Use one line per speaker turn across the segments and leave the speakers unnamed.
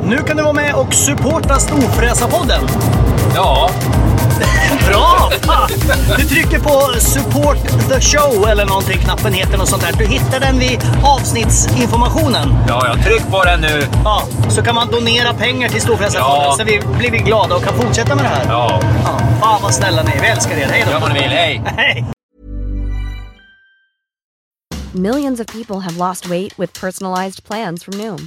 Nu kan du vara med och supporta Storfräsa-podden.
Ja,
Bra! Fan! Du trycker på support the show eller någonting, knappen heter något sånt där. Du hittar den vid avsnittsinformationen.
ja, ja. Tryck på den nu.
Ja, så kan man donera pengar till Storfräsarfonden
Ja.
så vi blir vi glada och kan fortsätta med det här.
Ja,
Ja, fan vad snälla ni är. Vi älskar er. Hej då!
gör vad ni vill. Hej!
Hej!
Millions of people have lost weight with personalized plans from Noom,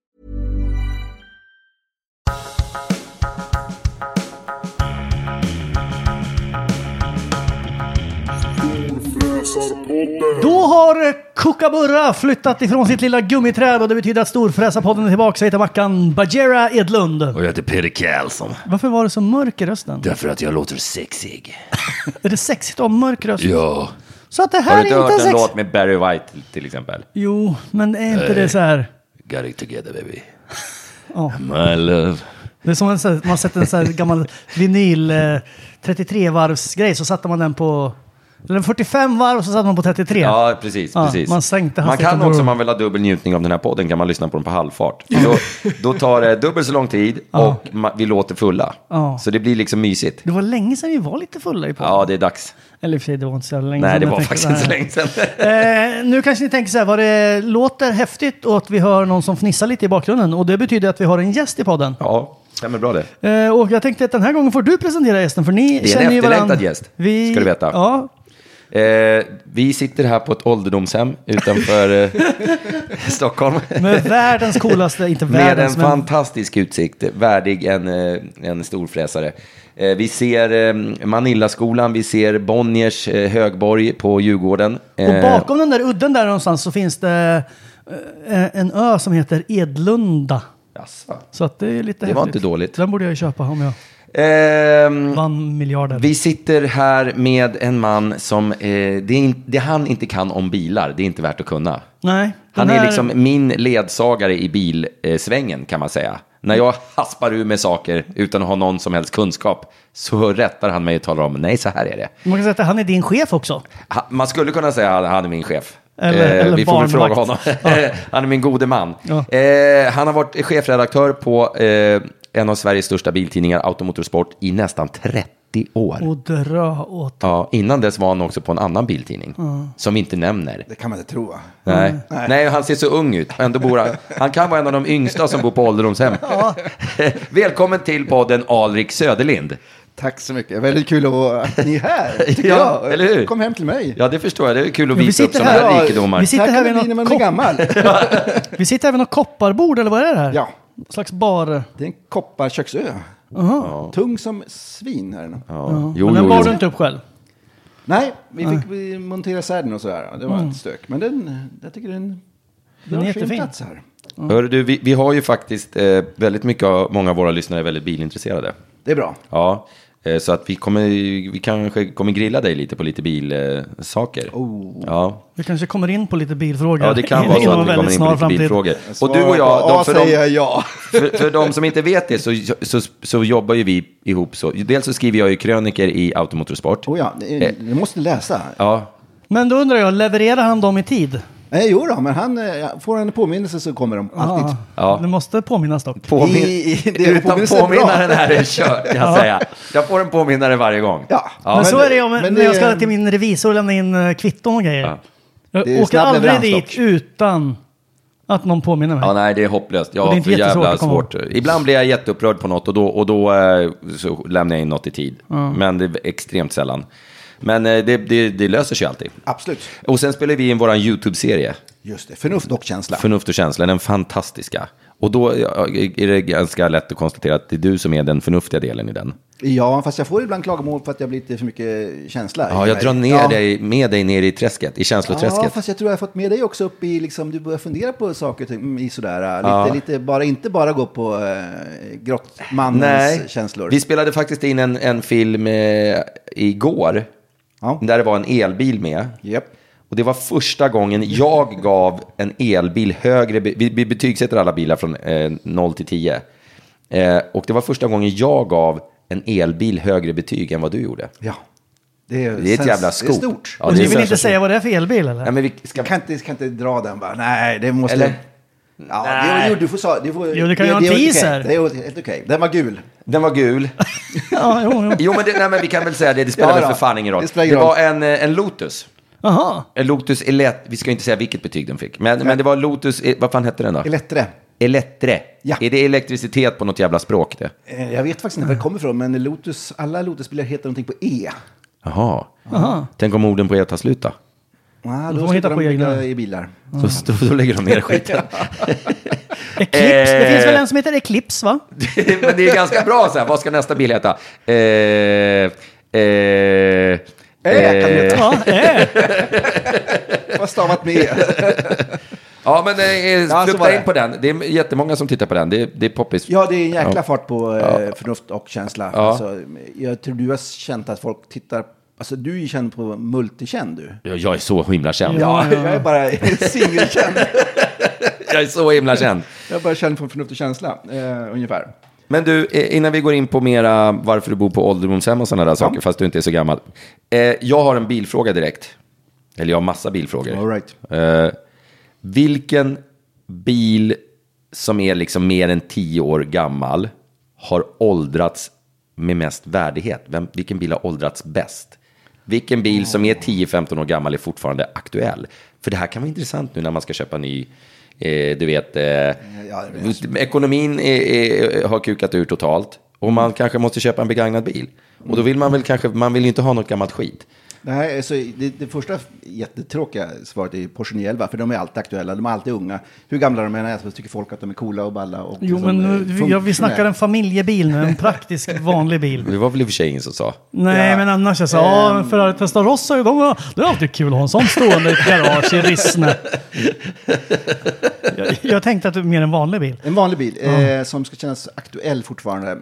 Då har Kookaburra flyttat ifrån sitt lilla gummiträd och det betyder att Storfräsarpodden är tillbaka. Jag heter Mackan Bajera Edlund.
Och jag heter Peder Karlsson.
Varför var du så mörk i rösten?
Därför att jag låter sexig.
Är det sexigt att ha mörk röst?
Ja.
Så att det
Har
här
du
är
inte
inte
hört en
sex...
låt med Barry White till exempel?
Jo, men är inte det så här...
Got it together baby.
Oh.
Ja.
My love.
Det är som en, så här- man sätter en så här gammal vinyl eh, 33-varvsgrej så satte man den på... Eller 45 varv och så satte man på 33.
Ja, precis.
Ja,
precis.
man sänkte
man
hastigheten
kan
på-
också, om man vill ha dubbel njutning av den här podden, kan man lyssna på den på halvfart. Då, då tar det dubbelt så lång tid och ma- vi låter fulla.
Ja.
Så det blir liksom mysigt.
Det var länge sedan vi var lite fulla i podden.
Ja, det är dags.
Eller i och för sig, det var inte så jävla länge
Nej,
sedan,
det
men jag
var
tänker
faktiskt
här.
inte så länge sedan.
Eh, nu kanske ni tänker så här, vad det låter häftigt och att vi hör någon som fnissar lite i bakgrunden. Och det betyder att vi har en gäst i podden.
Ja, stämmer bra det.
Eh, och jag tänkte att den här gången får du presentera gästen, för ni
Det är en
känner ju
efterlängtad
varandra.
gäst, ska du veta.
Ja,
Eh, vi sitter här på ett ålderdomshem utanför eh, Stockholm.
med världens coolaste, inte
Med en
världens, men
fantastisk utsikt, värdig en, eh, en storfräsare. Eh, Vi ser eh, Manillaskolan, vi ser Bonniers eh, högborg på Djurgården.
Och
Eh,
bakom den där udden där någonstans så finns det eh, en ö som heter Edlunda.
Jaså.
Så att det är lite
Det var
häftigt.
inte dåligt.
Den borde jag ju köpa om jag
Ehm,
vann miljarder.
Vi sitter här med en man som, eh, det, är in, det han inte kan om bilar, det är inte värt att kunna.
Nej, den
Han är
här-
liksom min ledsagare i bilsvängen kan man säga. När jag haspar ur med saker utan att ha någon som helst kunskap så rättar han mig och talar om, nej så här är det.
Man kan säga att han är din chef också.
Ha- Man skulle kunna säga att han är min chef. Eh,
Eller- eller
vi får väl fråga honom.
barnvakt.
han är min gode man.
Ja.
Eh, han har varit chefredaktör på eh, en av Sveriges största biltidningar, Automotorsport, i nästan 30 år.
Och dra åt
Ja, innan dess var han också på en annan biltidning, som vi inte nämner.
Det kan man inte tro, va? Mm.
Nej. Nej, han ser så ung ut. Ändå bor han, han kan vara en av de yngsta som bor på ålderdomshem. Välkommen till podden Alrik Söderlind.
Tack så mycket. Väldigt kul att ni är här, tycker
Ja,
jag.
eller hur?
Kom hem till mig.
Ja, det förstår jag. Det är kul att
Ja, vi
visa upp
sitter
sådana
här-
här,
ja,
rikedomar.
vi sitter
Tack
här vid
för
något
när man är
kopp.
gammal.
Vi sitter även och kopparbord, eller vad är det här?
Ja.
Någon slags bar.
Det är en kopparköksö. Tung som svin här inne.
Ja. Jo,
Men den
jo,
bar du
jo.
inte upp själv.
Nej,
Ah.
vi fick vi montera isär den och sådär. Det var
Mm.
ett stök. Men den, jag tycker den, den har sin
jättefin.
plats här.
Hör du, vi, vi har ju faktiskt eh, väldigt mycket av många av våra lyssnare är väldigt bilintresserade.
Det är bra.
Ja, Eh, Så att vi, kommer, vi kanske kommer grilla dig lite på lite bilsaker. Oh. Ja.
Vi kanske kommer in på lite bilfrågor.
ja, det kan vara så
inom en
att
väldigt
vi kommer in på
snar
lite
framtid.
bilfrågor. Och du och
Svarar på
jag,
A
de, för,
säger
de,
jag ja.
för, för de som inte vet det så, så, så jobbar ju vi ihop så. Dels så skriver jag ju kröniker i Automotorsport.
Oh ja,
Eh.
du måste läsa.
Ja,
Men då undrar jag, levererar han dem i tid?
Nej, jo då, men han, eh, får han en påminnelse så kommer de
Ah.
alltid.
Ja.
Det måste påminnas dock.
Påmin-
I- i- det är
utan
påminnelsen är bra.
påminnaren här är kört, kan jag säga. Jag får en påminnare varje gång.
Ja.
Ja,
men,
men
så
det-
är det ju om-
men
när
det-
jag ska till min revisor och lämna in eh, kvitton och grejer.
Ja.
Det är
Jag åker
snabb
aldrig
leverans
dit
dock.
utan att någon påminner mig.
Ja, nej, det är hopplöst. Jag
Och det är
har
inte
för jävla
jättesvårt att komma
svårt. Ibland blir jag jätteupprörd på något och då, och då eh, så lämnar jag in något i tid. Men det är extremt sällan. Men eh, det, det, det löser sig alltid.
Absolut.
Och sen spelar vi in vår YouTube-serie,
Just det, förnuft och känsla.
Förnuft och känsla, den fantastiska. Och då ja, är det ganska lätt att konstatera att det är du som är den förnuftiga delen i den.
Ja, fast jag får ibland klagomål för att jag blir lite för mycket känsla.
Ja,
i
jag
mig.
drar ner
Ja.
dig, med dig ner i träsket, i
Ja,
känsloträsket.
fast jag tror jag har fått med dig också upp i, liksom, du börjar fundera på saker och ting, mm, i sådär, äh, lite, lite bara, inte bara gå på eh, grottmannens känslor.
Vi spelade faktiskt in en, en film eh, igår.
Ja.
Där det var en elbil med.
Japp.
Och det var första gången jag gav en elbil högre... be- Vi, vi betygsätter alla bilar från eh, 0 till 10. Eh, och det var första gången jag gav en elbil högre betyg än vad du gjorde.
Ja. Det är,
Det är ett
sens-
jävla
Det är
scoop.
stort.
Ja,
och
det
ni
är
vill inte
sensation.
säga vad det är för elbil eller?
Nej, men vi ska...
Jag kan inte, kan inte dra den bara, nej, det måste...
Eller?
Ja, nej. Jo, du får, sa- du får,
Jo, du kan ju ha en
det är okej.
teaser.
Det är helt okej. Den var gul.
Den var gul.
Ja, jo, jo.
Jo, men, det, nej, men vi kan väl säga det. Det spelar
Ja,
väl
då.
för fan ingen roll.
Det
Det,
spelar ingen
var
roll.
en, eh, en Lotus.
Jaha.
En Lotus Elet... Vi ska inte säga vilket betyg den fick. Men, men det var Lotus... eh, Vad fan hette den då?
Lättare.
Elettre.
Ja.
Är det elektricitet på något jävla språk det?
Eh, Jag vet faktiskt inte var det kommer ifrån, men Lotus, alla Lotusbilar heter någonting på E.
Jaha. Tänk om orden på er tar slut då?
Ah,
Då får
då
man hitta
slutar
på
de bygga
egna.
i bilar.
Så, då, då lägger de ner skiten.
Eclipse. Det
Eh.
finns väl en som heter Eclipse va?
Men det är ganska bra så här. Vad ska nästa bil heta? Eh, eh, eh,
Ä kan det
Ja, eh.
Vad stavat med E?
ja, men eh,
så var
flukta
det.
in på den. Det är jättemånga som tittar på den. Det, är- det är poppis.
Ja, det är en jäkla fart på eh, förnuft och känsla.
Ja.
Alltså, jag tror du har känt att folk tittar... Alltså, du är ju känd på multikänd, du.
Jag- Jag är så himla känd.
Ja, jag är bara singelkänd.
Jag är så himla känd.
Jag är bara känd på förnuft och känsla, eh, ungefär.
Men du, eh, innan vi går in på mera varför du bor på ålderdomshem och sådana där saker, fast du inte är så gammal. Eh, jag har en bilfråga direkt. Eller jag har massa bilfrågor.
All right.
eh, vilken bil som är liksom mer än tio år gammal har åldrats med mest värdighet? Vem, vilken bil har åldrats bäst? Vilken bil som är 10-15 år gammal är fortfarande aktuell? För det här kan vara intressant nu när man ska köpa ny, eh, du vet, eh,
Ja,
Ekonomin är, är, har kukat ur totalt och man kanske måste köpa en begagnad bil. Och då vill man väl kanske, man vill ju inte ha något gammalt skit.
Nej, alltså, det, det första jättetråkiga svaret är Porsche 911, för de är alltid aktuella, de är alltid unga. Hur gamla de än är så tycker folk att de är coola och balla. Och
Jo,
liksom, eh,
men vi- ja, vi snackar en familjebil nu, en praktisk vanlig bil.
Det var väl i och för sig ingen som sa.
Nej,
Ja. Ehm.
men annars jag sa, ja, men Ferrari Testarossa, de, var- det är alltid kul att ha en sån stående i ett garage i Rissne. Jag, jag tänkte att det är mer en vanlig bil.
En vanlig bil eh, som ska kännas aktuell fortfarande.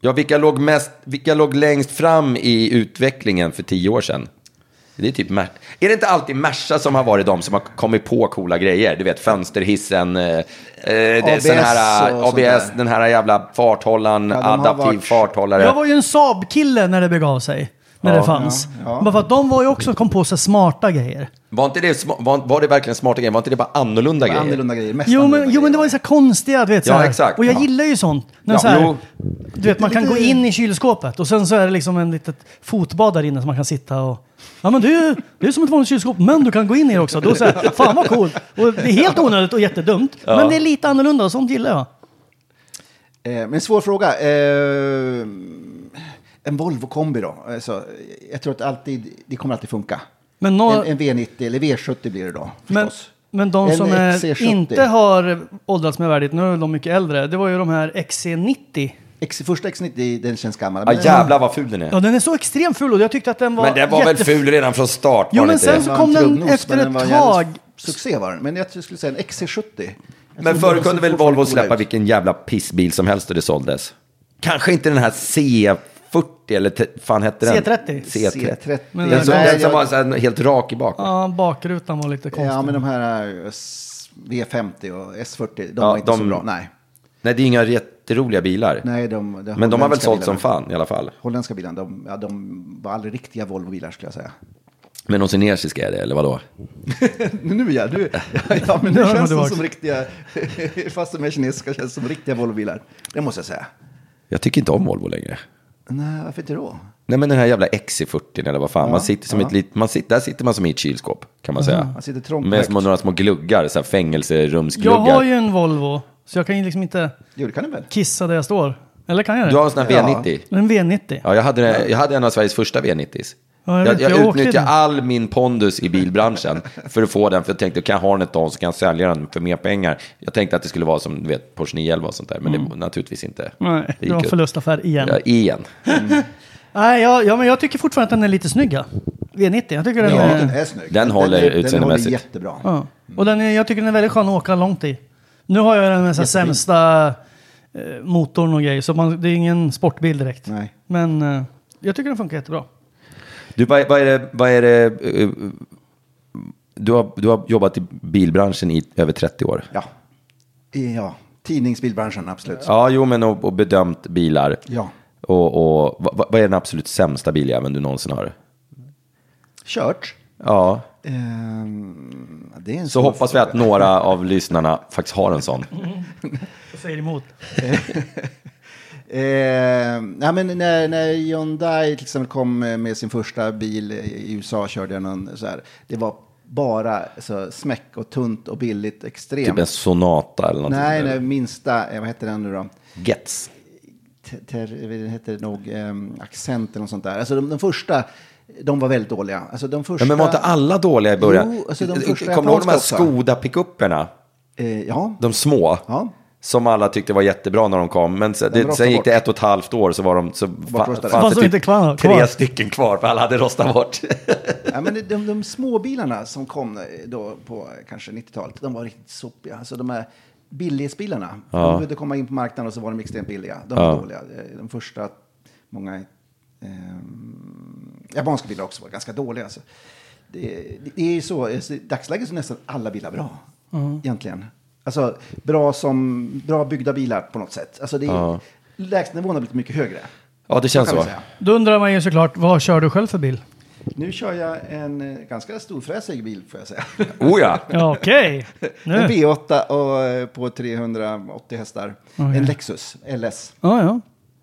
Ja, vilka låg, mest, vilka låg längst fram i utvecklingen för tio år sedan? Det är, typ, Mer- är det inte alltid Merca som har varit de som har kommit på coola grejer? Du vet, fönsterhissen, eh, eh, det,
ABS
sån här,
och sånt
ABS,
där.
den här jävla farthållaren,
Ja, de har
adaptiv
varit-
farthållare.
Jag var ju en Saab-kille när det begav sig. När
Ja,
det fanns.
ja, ja.
Men för att de var ju också, kom på sig smarta grejer.
Var, inte det, sma- var, var det verkligen smarta grejer? Var inte det bara annorlunda grejer?
Annorlunda grejer. Mest
Jo men,
annorlunda
jo men det
grejer.
var ju så här konstiga, du vet. Så
Ja,
här.
exakt.
Och jag
Ja.
gillar ju sånt. När
Ja,
så här,
jo.
du vet, man kan gå in i kylskåpet och sen så är det liksom en litet fotbad där inne som man kan sitta och... Ja men det är ju det är som ett vanligt kylskåp, men du kan gå in i det också. Då så här, fan vad coolt! Och det är helt onödigt och jättedumt. Men det är lite annorlunda och sånt gillar jag.
Eh, men svår fråga. Eh, en Volvo kombi då? Alltså, jag tror att alltid, det kommer alltid funka.
Men, nå-
en, en V90 eller V70 blir det då,
men,
förstås.
men de
En
som är,
XC70.
inte har åldrats med värdigt, nu är väl de mycket äldre, det var ju de här XC90.
X, första X90, den känns gammal.
Ja,
men-
jävlar vad ful den är.
Ja den är så extremt ful och jag tyckte att den var
Men den var
jättef-
väl ful redan från start?
Jo,
var
men
den
sen
inte?
så-
var
kom
en
den
trumnos,
efter
men
ett
den var jävligt
tag.
Succé var den, men jag skulle säga en XC70. Jag
men
tror
förr
den
kunde
ser
väl Volvo
fortfarande cool
släppa
ut.
vilken jävla pissbil som helst och det såldes? Kanske inte den här C... 40 eller te- fan hette den?
C30.
C30.
C30.
Den,
Men-
som,
Nej,
den som
jag-
var så här, helt rak i bak.
Ja, bakrutan var lite konstig.
Ja, men de här eh, S- V50 och S40, de
Ja,
var inte så
de-
bra. Nej,
Nej, det är inga jätteroliga bilar.
Nej de, de
Men de har väl
holländska
sålt som
bilarna.
fan i alla fall.
Holländska bilarna, de, ja, de var aldrig riktiga Volvo-bilar skulle jag säga.
Men de kinesiska är det, eller vadå?
Nu ja, nu, ja, ja men
Nu
nu
är de
känns de
tillbaka.
som riktiga, fast de är kinesiska, känns som riktiga Volvo-bilar. Det måste jag säga.
Jag tycker inte om Volvo längre.
Nej, varför inte då?
Nej, men den här jävla XC40 eller vad fan. man sitter som
ja.
ett lit, man sitter, där sitter man som i ett kylskåp, kan man säga.
Man sitter trångt
Med
högt.
små, några små gluggar, så här
jag
fängelserumsgluggar.
har ju en Volvo, så jag kan ju liksom inte
Jo, det kan du väl?
kissa där jag står. Eller kan jag det?
Du har en sån här
Ja.
V90.
En V90.
Ja, jag, hade, den- jag hade en av Sveriges första V90s.
Ja, jag
jag
vet,
jag,
jag åkte
utnyttjade
den.
all min pondus i bilbranschen för att få den. För jag tänkte, kan jag ha den ett tag så kan jag sälja den för mer pengar. Jag tänkte att det skulle vara som du vet, Porsche 911 och sånt där. Men det var naturligtvis inte.
Mm. Nej, det var en
ut.
förlustaffär igen.
Ja, igen.
Nej, ja, ja, men jag tycker fortfarande att den är lite snygga. V90, jag tycker den
Ja.
Den
är...
är snygg.
Den håller
den, den håller
utseendemässigt.
jättebra.
Ja. Och den är, jag tycker den är väldigt skön att åka långt i. Nu har jag den med så här
Jättefin.
sämsta eh, motorn och grejer, så man, det är ingen sportbil direkt.
Nej.
Men eh, jag tycker den funkar jättebra.
Du, vad, vad är det... Vad är det eh, du, har, du har jobbat i bilbranschen i över 30 år.
Ja. ja, tidningsbilbranschen, absolut.
Ja, jo, men och, och bedömt bilar.
Ja.
Och, och vad, vad är den absolut sämsta biljäveln du någonsin har?
Kört.
Ja,
Ehm, det är en
så
svår
hoppas vi
fråga.
att några av lyssnarna faktiskt har en sån.
Jag säger emot.
Eh, ja, men när, när Hyundai till exempel kom med sin första bil i USA körde jag någon så här. Det var bara så smäck och tunt och billigt extremt.
Typ en Sonata eller någonting.
nej,
eller?
nej, minsta, eh, vad heter den nu då?
Gets.
T- Ter, den heter nog ehm, Accent eller något sånt där. Alltså de, de första, de var väldigt dåliga. Alltså de första...
Ja, men var inte alla dåliga i början? Eh,
Jo, alltså de första
Kommer du ihåg de här
japanska också?
Skoda-pickuperna?
Eh, ja,
De små?
Ja.
Som alla tyckte var jättebra när de kom. Men sen, det,
rostade
sen gick det
bort.
ett och ett halvt år så var de... Så fa- typ
Bortrostade.
Fanns de inte kvar-
tre
kvar?
stycken kvar för alla hade rostat bort.
Ja, men de, de, de småbilarna som kom eh, då på kanske 90-talet, de var riktigt sopiga. Alltså de här billighetsbilarna,
Ja.
de behövde komma in på marknaden och så var de extremt billiga. De var
Ja.
dåliga. Eh, De första, många ehm, eh, japanska bilar också var ganska dåliga. Alltså. Det, det är ju så, alltså, i dagsläget så är nästan alla bilar bra,
Mm.
egentligen. Alltså bra, som, bra byggda bilar på något sätt. Alltså, det är, Lägstanivån har blivit mycket högre.
ja, det
kan
känns
vi
så.
säga.
Då undrar man ju såklart, vad kör du själv för bil?
Nu kör jag en eh, ganska storfräsig bil får jag säga.
Oh ja.
Ja, Okej,
En
nu.
V8 och, eh, på 380 hästar.
Okej.
En Lexus LS.
Ja, ja.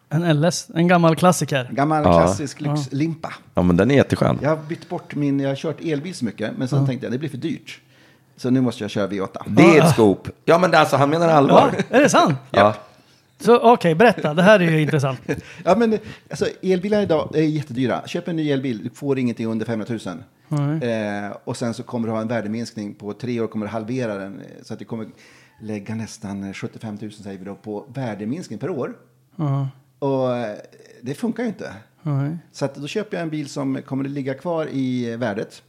En LS, en gammal klassiker.
Gammal klassisk lyxlimpa.
ja, men den är jätteskön.
Jag har bytt bort min, jag har kört elbil så mycket, men sen tänkte jag det blir för dyrt. Så nu måste jag köra V8.
Det
Ah.
är ett scoop. Ja, men alltså han menar
Ja,
allvar.
är det sant?
Ja.
Så okej, berätta. Det här är ju intressant.
Ja, men, eh, alltså, elbilar idag är jättedyra. Köp en ny elbil, du får ingenting under 500 000. Eh, och sen så kommer du ha en värdeminskning på tre år, kommer du halvera den. eh, Så att du kommer lägga nästan eh, 75 000 säger vi då, på värdeminskning per år. Och eh, det funkar ju inte.
Nej.
Så att då köper jag en bil som kommer att ligga kvar i värdet.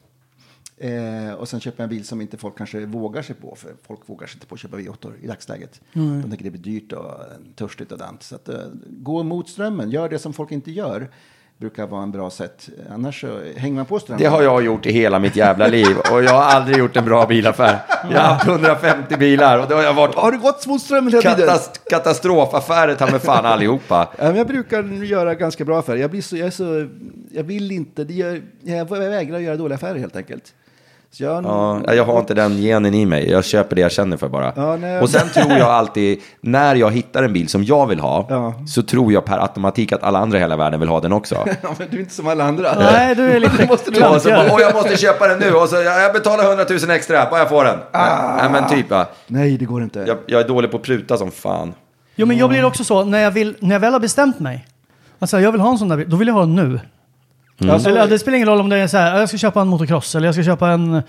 Eh, och sen köper jag en bil som inte folk kanske vågar sig på. För folk vågar sig inte på att köpa V8 i dagsläget. De tänker det blir dyrt och eh, törstigt och dant. Så att, eh, gå mot strömmen, gör det som folk inte gör. Brukar vara en bra sätt. Annars så hänger man på strömmen.
Det har jag gjort i hela mitt jävla liv och jag har aldrig gjort en bra bilaffär. Jag har haft 150 bilar och då har jag varit
Har du gått mot strömmen hela tiden?
katast katastrofaffärer ta med fan allihopa.
Ja, men Jag brukar göra ganska bra affärer. Jag, blir så, jag, är så, jag vill inte, det gör, jag vägrar göra dåliga affärer helt enkelt. Så jag,
Ja, jag har inte den genen i mig. Jag köper det jag känner för bara.
Ja, nej.
och sen tror jag alltid, när jag hittar en bil som jag vill ha, så tror jag per automatik att alla andra i hela världen vill ha den också.
Ja, men du är inte som alla andra.
Nej, du är lite
måste du-
Och så
klantigare.
bara, "Åh, jag måste köpa den nu. Och så, "Ja, jag betalar 100 000 extra, bara jag får den.
Ah.
Nej, men typ, ja.
Nej, det går inte.
jag, jag är dålig på att pruta som fan.
Jo, men jag blir också så när jag, vill, när jag väl har bestämt mig. Alltså, jag vill ha en sån där bil, då vill jag ha den nu.
Mm.
Alltså,
Eller, ja, det spelar ingen roll om det är så här, jag ska köpa en motocross eller jag ska köpa en,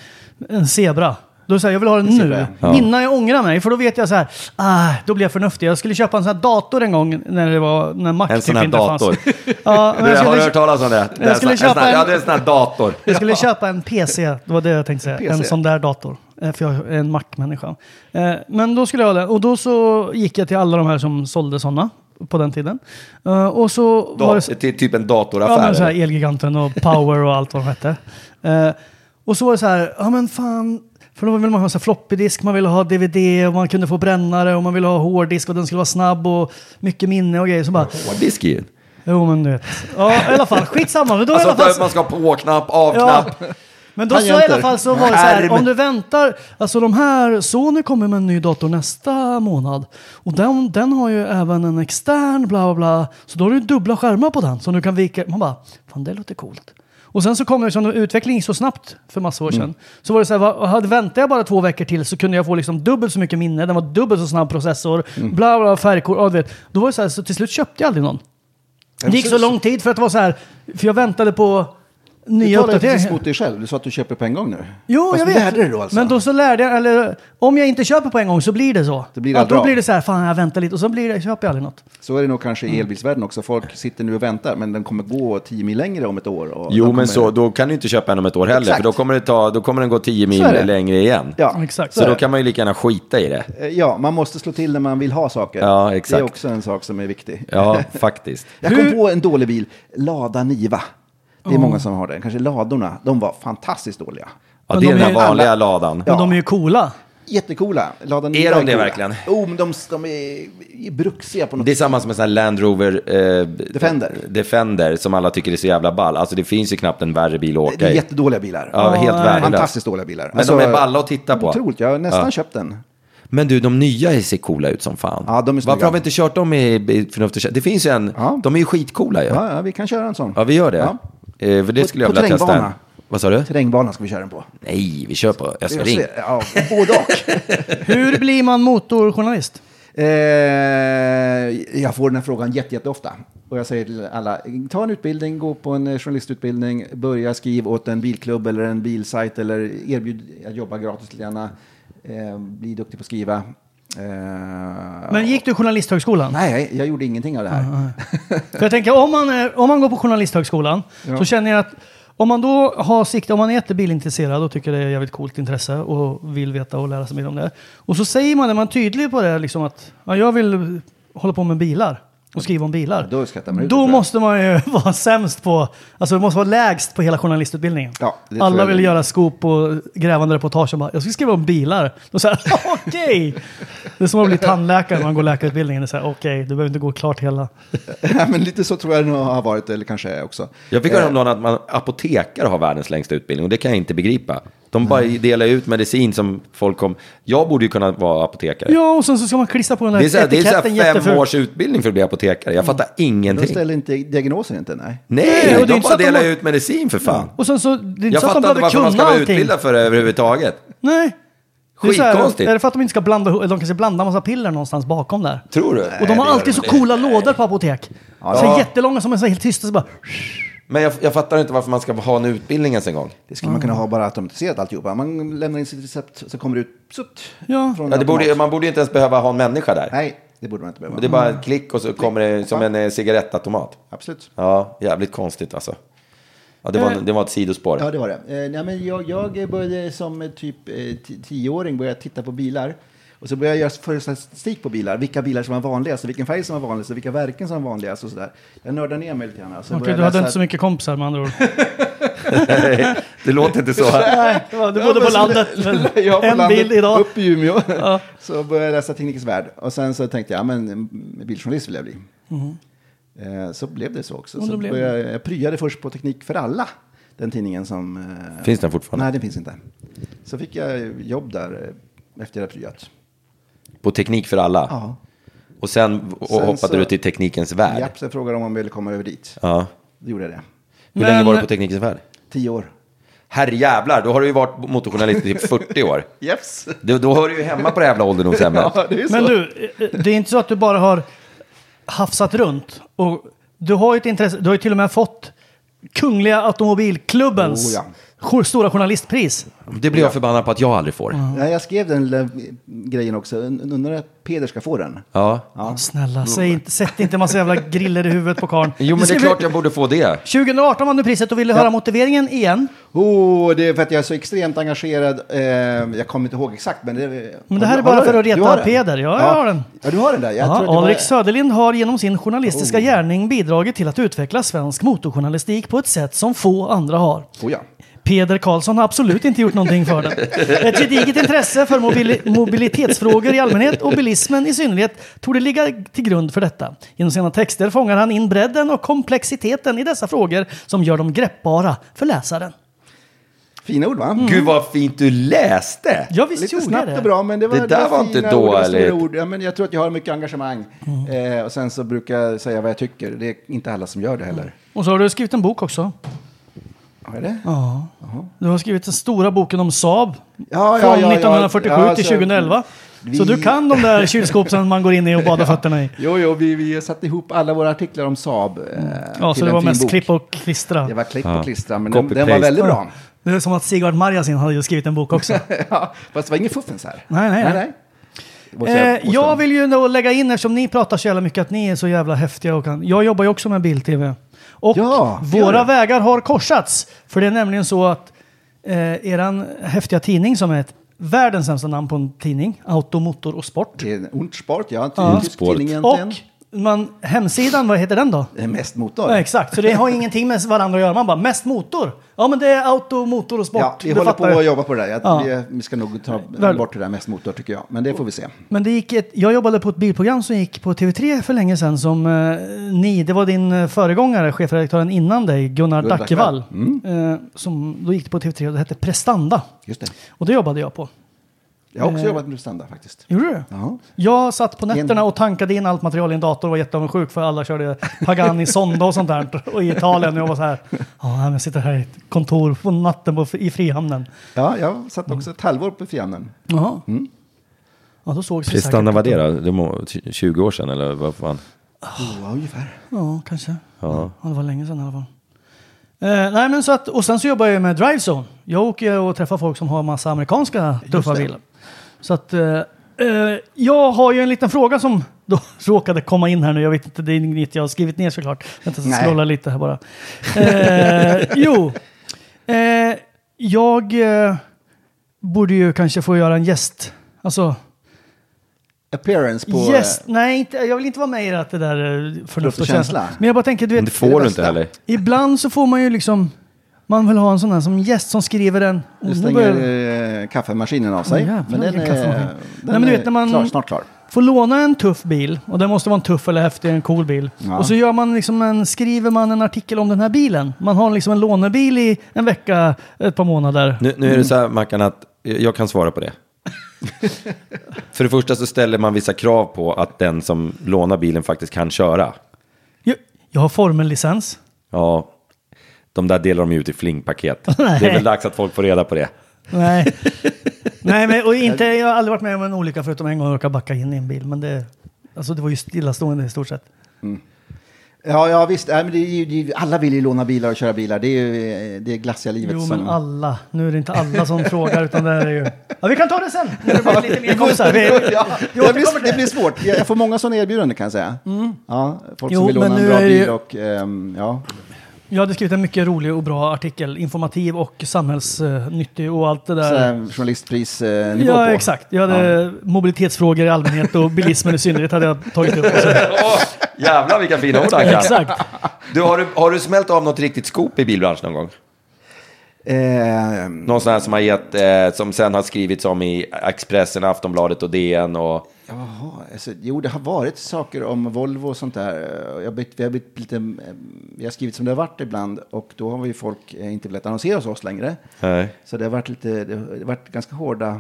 en zebra. Då säger jag, jag vill ha den nu, innan jag ångrar mig. För då vet jag så här, ah, då blir jag förnuftig. Jag skulle köpa en sån här dator en gång när det var, när Mac
En
typ
sån här
inte
dator.
fanns. Ja, men
Du,
jag
har
skulle,
du hört talas om det? det är en
skulle
sån-
köpa
en sån här-
en-
Ja, det är en sån här dator.
jag skulle köpa en PC, det var det jag tänkte säga. En sån där dator. Eh, För jag är en Mac-människa. Eh, Men då skulle jag ha det. Och då så gick jag till alla de här som sålde sådana. på den tiden. Eh, och så var
Da,
det...
det
så-
är typ en
Ja, men
datoraffär.
så här
eller?
Elgiganten och Power och allt vad de hette. Eh, och så var det så här, ja men fan, för då ville man ha så här floppydisk, man ville ha DVD och man kunde få brännare och man ville ha hårddisk och den skulle vara snabb och mycket minne och grejer. Så bara,
Hårddisk i den.
jo men du vet. Ja, i alla fall, skitsamma. Men då i alla fall,
Alltså,
så-
man ska ha på-knapp, av-knapp.
men då så i
Tangenter.
alla fall så var det så här,
Skärm.
om du väntar, alltså de här, Sony kommer med en ny dator nästa månad. Och den, den har ju även en extern bla bla bla. Så då har du dubbla skärmar på den som du kan vika. Man bara, fan det låter coolt. Och sen så kom det, som utvecklingen gick så snabbt för massa år sedan. Så var det så här, va- hade, väntade jag bara två veckor till så kunde jag få liksom dubbelt så mycket minne, den var dubbelt så snabb processor, bla bla, färgkort, ja, du vet. Då var det så här, så till slut köpte jag aldrig någon. Det gick så lång tid för att det var så här, för jag väntade på
Du
nya
talar ju
uppdateringar.
precis mot dig själv. Du sa att du köper på en gång nu.
Jo,
Fast
jag
du
vet.
lärde dig då alltså.
Men då så lärde jag, eller om jag inte köper på en gång så blir det så.
Det blir
Att
aldrig
då
av.
blir det så här, fan jag väntar lite och så blir det, köper jag aldrig något.
Så är det nog kanske i elbilsvärlden också. Folk sitter nu och väntar, men den kommer gå 10 mil längre om ett år. Och
Jo,
den kommer...
men så, då kan du inte köpa en om ett år heller,
Exakt.
för då kommer, det ta, då kommer den gå 10
Så är
mil
det.
längre igen.
Ja,
Exakt.
Så då kan man ju lika gärna skita i det.
Eh, ja, man måste slå till när man vill ha saker.
Ja,
Det
exakt.
är också en sak som är viktig.
Ja, faktiskt.
Jag kom på en dålig bil, Lada Niva. Det är många som har den. Kanske ladorna, de var fantastiskt dåliga.
Ja,
Men
det
de
är den
är
här
ju
vanliga
alla-
ladan.
Men de är ju coola.
Jättecoola. Lada Niva
de det
coola.
verkligen?
Jo, men de, de är, är bruxiga på något
Det är samma som en sån här Land Rover eh,
Defender.
Defender som alla tycker är så jävla ball. Alltså det finns ju knappt en värre bil att åka
Det är
i.
jättedåliga bilar.
Ja, helt värdelöst.
Fantastiskt dåliga bilar. Alltså,
Men de är balla att titta på.
Otroligt, jag har nästan
Ja.
köpt den.
Men du, de nya ser coola ut som fan.
Ja, de är snygga.
Varför har vi inte kört dem i, i förnuftigt Det finns ju en,
Ja.
de är ju skitcoola ju. Ja.
Ja, ja, vi kan köra en sån.
vi gör det.
Ja.
Eh, för det
På-
skulle jag
på
vilja testa.
terrängbana.
Vad sa du?
Terrängbanan ska vi köra den på.
Nej, vi kör på Östring.
Ja, både och.
Hur blir man motorjournalist?
eh, jag får den här frågan jätte, jätteofta. Och jag säger till alla, ta en utbildning, gå på en eh, journalistutbildning, börja skriva åt en bilklubb eller en bilsajt eller erbjud att jobba gratis lite grann. Eh, bli duktig på att skriva. Eh,
Men gick du journalisthögskolan? Ah,
Nej, jag gjorde ingenting av det här.
För jag tänker, om man, är, om man går på journalisthögskolan så känner jag att om man då har sikte, om man är jättebilintresserad och tycker det är ett jävligt coolt intresse och vill veta och lära sig mer om det. Och så säger man det, man är tydlig på det liksom att ja, jag vill hålla på med bilar och skriva om bilar.
Då skrattar man ut, tror
ah. Då
jag.
måste man ju vara sämst på, alltså det måste vara lägst på hela journalistutbildningen.
Ja, det tror
Alla
jag
vill
det.
göra scoop och grävande reportage och bara, jag ska skriva om bilar. Då så här, okej! Det är som att bli tandläkare när man går läkarutbildningen. Det är så här, okej, du behöver inte gå klart hela.
Nej, men lite så tror jag det nog har varit, eller kanske är också.
Jag fick höra
Eh.
om någon att man, apotekare har världens längsta utbildning och det kan jag inte begripa. De bara delar ut medicin som folk kom... Jag borde ju kunna vara apotekare.
Ja, och sen så ska man klistra på den här
det är så här, det är så
etiketten
här fem
jättefult.
års utbildning för att bli apotekare. Jag fattar
De
ingenting.
ställer inte diagnosen inte, nej.
och
Nej,
det är inte
de
så
bara
att de
delar
har-
ut medicin för fan.
Och sen så, det är inte
Jag
så att de
fattar inte
behöver
varför
kunna
man ska vara
allting.
utbildad för det överhuvudtaget.
Nej. Det är, så här,
Skitkonstigt.
är det för att de inte ska blanda ihop- de kanske blandar massa piller någonstans bakom där.
Tror du?
Och de har alltid så coola lådor på apotek. Så här jättelånga som är så här helt tysta. Så bara,
Men jag, jag fattar inte varför man ska ha en utbildning ens en gång.
Det skulle man kunna ha bara automatiserat alltihopa. Man lämnar in sitt recept, så kommer det ut. Sutt,
Ja.
från
Ja, det borde,
automat.
man borde ju inte ens behöva ha en människa där.
Nej, det borde man inte behöva.
Det är bara
Mm.
ett klick och så kommer det som
Ja.
en eh, cigarettautomat.
Absolut.
Ja, jävligt konstigt alltså. Ja, det, var,
Eh.
det var ett sidospår.
Ja, det var det. Eh, nej, men jag, jag började som eh, typ eh, ti- tioåring började titta på bilar. Och så började jag göra för- statistik på bilar, vilka bilar som var vanligast, och vilken färg som var vanligast och vilka verken som var vanligast och sådär. Jag nördade ner mig lite grann. alltså.
Martin,
började
du hade
läsa-
inte så mycket kompisar med andra ord.
Det låter inte så.
Nej, du bodde på
men så-
landet.
Ja, på
en
landet,
bil idag.
Upp i Umeå. Så började jag läsa Teknikens Värld. Och sen så tänkte jag, ja, men mm, biljournalist vill jag bli. Eh, Så blev det så också.
Mm-hmm. Och då
Så
blev
började jag, jag pryade först på Teknik för alla. Den tidningen som... eh,
Finns den fortfarande?
Nej, den finns inte. Så fick jag jobb där eh, efter jag hade pryat.
På Teknik för alla.
Ja.
Och sen, och
Sen
hoppade
så-
du till Teknikens värld.
Japp, sen frågade de om jag ville komma över dit.
Ja.
Då gjorde jag det.
Hur
Men-
länge var du på Teknikens värld?
Tio år.
Herrejävlar, då har du ju varit motorjournalist i typ 40 år.
Yes.
Då, då hör du ju hemma på det jävla ålderdomshemmet.
Ja, det är så.
Men du, eh, det är inte så att du bara har hafsat runt. Och du har ju ett intresse, du har ju till och med fått Kungliga Automobilklubbens
Oh ja.
jo- Stora Journalistpris.
Det blir jag förbannad på att jag aldrig får.
Ja, jag skrev den lilla grejen också. Und- Undrar om Peder ska få den?
Ja.
Ja.
Snälla, säg inte, sätt inte en massa jävla griller i huvudet på karln.
Jo,
Du
men det är
skrev-
klart jag borde få det.
Mm. 2018 vann du priset och ville höra motiveringen igen.
Oh, det är för att jag är så extremt engagerad. Eh, jag kommer inte ihåg exakt, men det
Men
Har
det här
du-
är bara
har du
för att
den? Du
reta
har den?
Peder. Ja, jag har den.
Ja, du har den där. Jag tror att det
Ja,
var- Oh.
Alrik Söderlind har genom sin journalistiska gärning bidragit till att utveckla svensk motorjournalistik på ett sätt som få andra har.
Oh, ja.
Peder Karlsson har absolut inte gjort någonting för den. Ett gediget intresse för mobili- mobilitetsfrågor i allmänhet och bilismen i synnerhet torde ligga till grund för detta. Genom sina texter fångar han in bredden och komplexiteten i dessa frågor som gör dem greppbara för läsaren.
Fina ord, va?
Gud vad fint du läste!
Mm. Ja, visst
Lite
gjorde
snabbt
det.
och bra, men det var,
Det där var inte
fina ord, det var stora
dåligt.
Ord. Ja, men jag tror att jag har mycket engagemang.
Mm.
Eh, och sen så brukar jag säga vad jag tycker. Det är inte alla som gör det heller.
Och så har du skrivit en bok också.
Har jag det?
Ja. Du har skrivit den stora boken om Saab.
ja,
från
ja, ja.
1947
Ja,
till
så-
2011. Så
Vi-
du kan de där kylskåpen man går in i och badar fötterna i.
Jo, jo, vi, vi satte ihop alla våra artiklar om Saab. Eh,
Ja, så
till
det
en
var
fin
mest
bok.
klipp och klistra.
Det var klipp och klistra, men den,
Copy-paste.
den var väldigt bra.
Det är som att Sigvard Marjasin hade ju skrivit en bok också.
ja, fast det var ingen fuffens här.
Nej, nej, nej.
Det måste
Eh,
måste
jag vill ju då lägga in, eftersom ni pratar så jävla mycket, att ni är så jävla häftiga. Och kan. Jag jobbar ju också med bild-tv. Och
Ja, det gör
våra
du.
vägar har korsats. För det är nämligen så att eh, eran häftiga tidning som är ett världens sämsta namn på en tidning, Automotor och Sport.
Det är en ont sport, ja. En typisk
Sport.
tidning egentligen.
Och man, hemsidan, vad heter den då?
Det är mest motor.
Ja, exakt, så det har ingenting med varandra att göra. Man bara, mest motor. Ja, men det är auto, motor och sport.
Ja, vi
Det
håller
fattar jag.
på att jobba på det där. Jag,
Ja.
vi, vi ska nog ta
Väl-
bort det där mest motor tycker jag. Men det får vi se.
Men det gick ett, jag jobbade på ett bilprogram som gick på TV3 för länge sedan som eh, ni, det var din eh, föregångare, chefredaktören innan dig, Gunnar,
Gunnar
Dackevall. Eh, som, då gick det på TV3 och det hette Prestanda.
Mm, Just det.
Och det jobbade jag på.
Jag har också jobbat med standard faktiskt.
Eh, Gjorde du?
Ja.
Jag satt på nätterna och tankade in allt material i en dator och var jätteavundsjuk för alla körde Pagani Sonda och sånt där och i Italien. Och jag var så här, ja, men jag sitter här i ett kontor på natten på, i Frihamnen.
Ja, jag satt också ett halvår på Frihamnen.
Jaha. Ja, då sågs vi
Prestanna
säkert.
vad det då? Det må- 20 år sedan eller vad fan?
Ja, ungefär.
Ja, kanske.
Ja.
Ja, det var länge sedan i alla fall. Eh, nej, men så att, och sen så jobbar jag ju med DriveZone. Jag åker ju och träffar folk som har massa amerikanska tuffa
det.
bilar. Så att, eh, eh, jag har ju en liten fråga som då råkade komma in här nu. Jag vet inte, det är inget jag har skrivit ner såklart. Vänta, jag
Nej.
ska scrolla lite här bara. Eh, jo, eh, jag eh, borde ju kanske få göra en gäst. Alltså,
Appearance på... eh,
gäst, nej, inte, jag vill inte vara med i att det där eh, förnuft och känsla.
känsla.
Men jag bara tänker, du vet,
Men det får du inte
bästa.
heller.
Ibland så får man ju liksom, man vill ha en sån här som gäst som skriver en...
eh,
Och
Nu
då
stänger
börjar-
eh, kaffemaskinen av sig.
Åh, jävlar,
men den
vilken
är,
kaffemaskin.
den
Nej, men du
är
vet, när man-
klar, snart klar.
Får låna en tuff bil, och den måste vara en tuff eller häftig, en cool bil.
Ja.
Och så gör man liksom en, skriver man en artikel om den här bilen. Man har liksom en lånebil i en vecka, ett par månader.
Nu, nu är det så här Mackan att jag kan svara på det. För det första så ställer man vissa krav på att den som lånar bilen faktiskt kan köra.
Jag, jag har formellicens.
Ja, de där delar de ju ut i flingpaket.
Nej.
Det är väl dags att folk får reda på det.
Nej. Nej, men och inte, jag har aldrig varit med om en olycka förutom en gång jag råkade backa in i en bil. Men det, alltså det var ju stillastående i stort sett.
Ja, ja visst. Nej, men det är ju, det är ju, alla vill ju låna bilar och köra bilar. Det är ju eh, det glassiga livet.
Jo,
som-
men alla. Nu är det inte alla som frågar, utan det här är ju... Ja, vi kan ta det sen! När det blir lite mer kompisar. Vi,
ja,
vi
det,
återkommer
blir,
till
det
det.
blir svårt. Jag, jag får många sådana erbjudanden kan jag säga.
Mm.
Ja, folk
Jo,
som vill låna
men
en
nu
bra
är det
bil
ju-
och ehm, ja.
Jag hade skrivit en mycket rolig och bra artikel. Informativ och samhällsnyttig och allt det där.
Sådär journalistprisnivå
ja,
eh, på.
exakt. Jag hade mobilitetsfrågor i allmänhet och bilismen i synnerhet hade jag tagit upp. Och så.
Åh, jävlar vilka fina ord Ankan.
Exakt.
Du, har, du, har du smält av något riktigt skop i bilbranschen någon gång?
Ehm,
Någon sån här som, har gett, eh, som sen har skrivits om i Expressen, Aftonbladet och DN och...
Jaha, alltså, jo det har varit saker om Volvo och sånt där. Jag har, blivit, vi, har blivit lite, ehm, vi har skrivit som det har varit ibland och då har vi folk eh, inte velat annonsera hos oss längre.
Nej.
Så det har varit, lite, det har varit ganska hårda,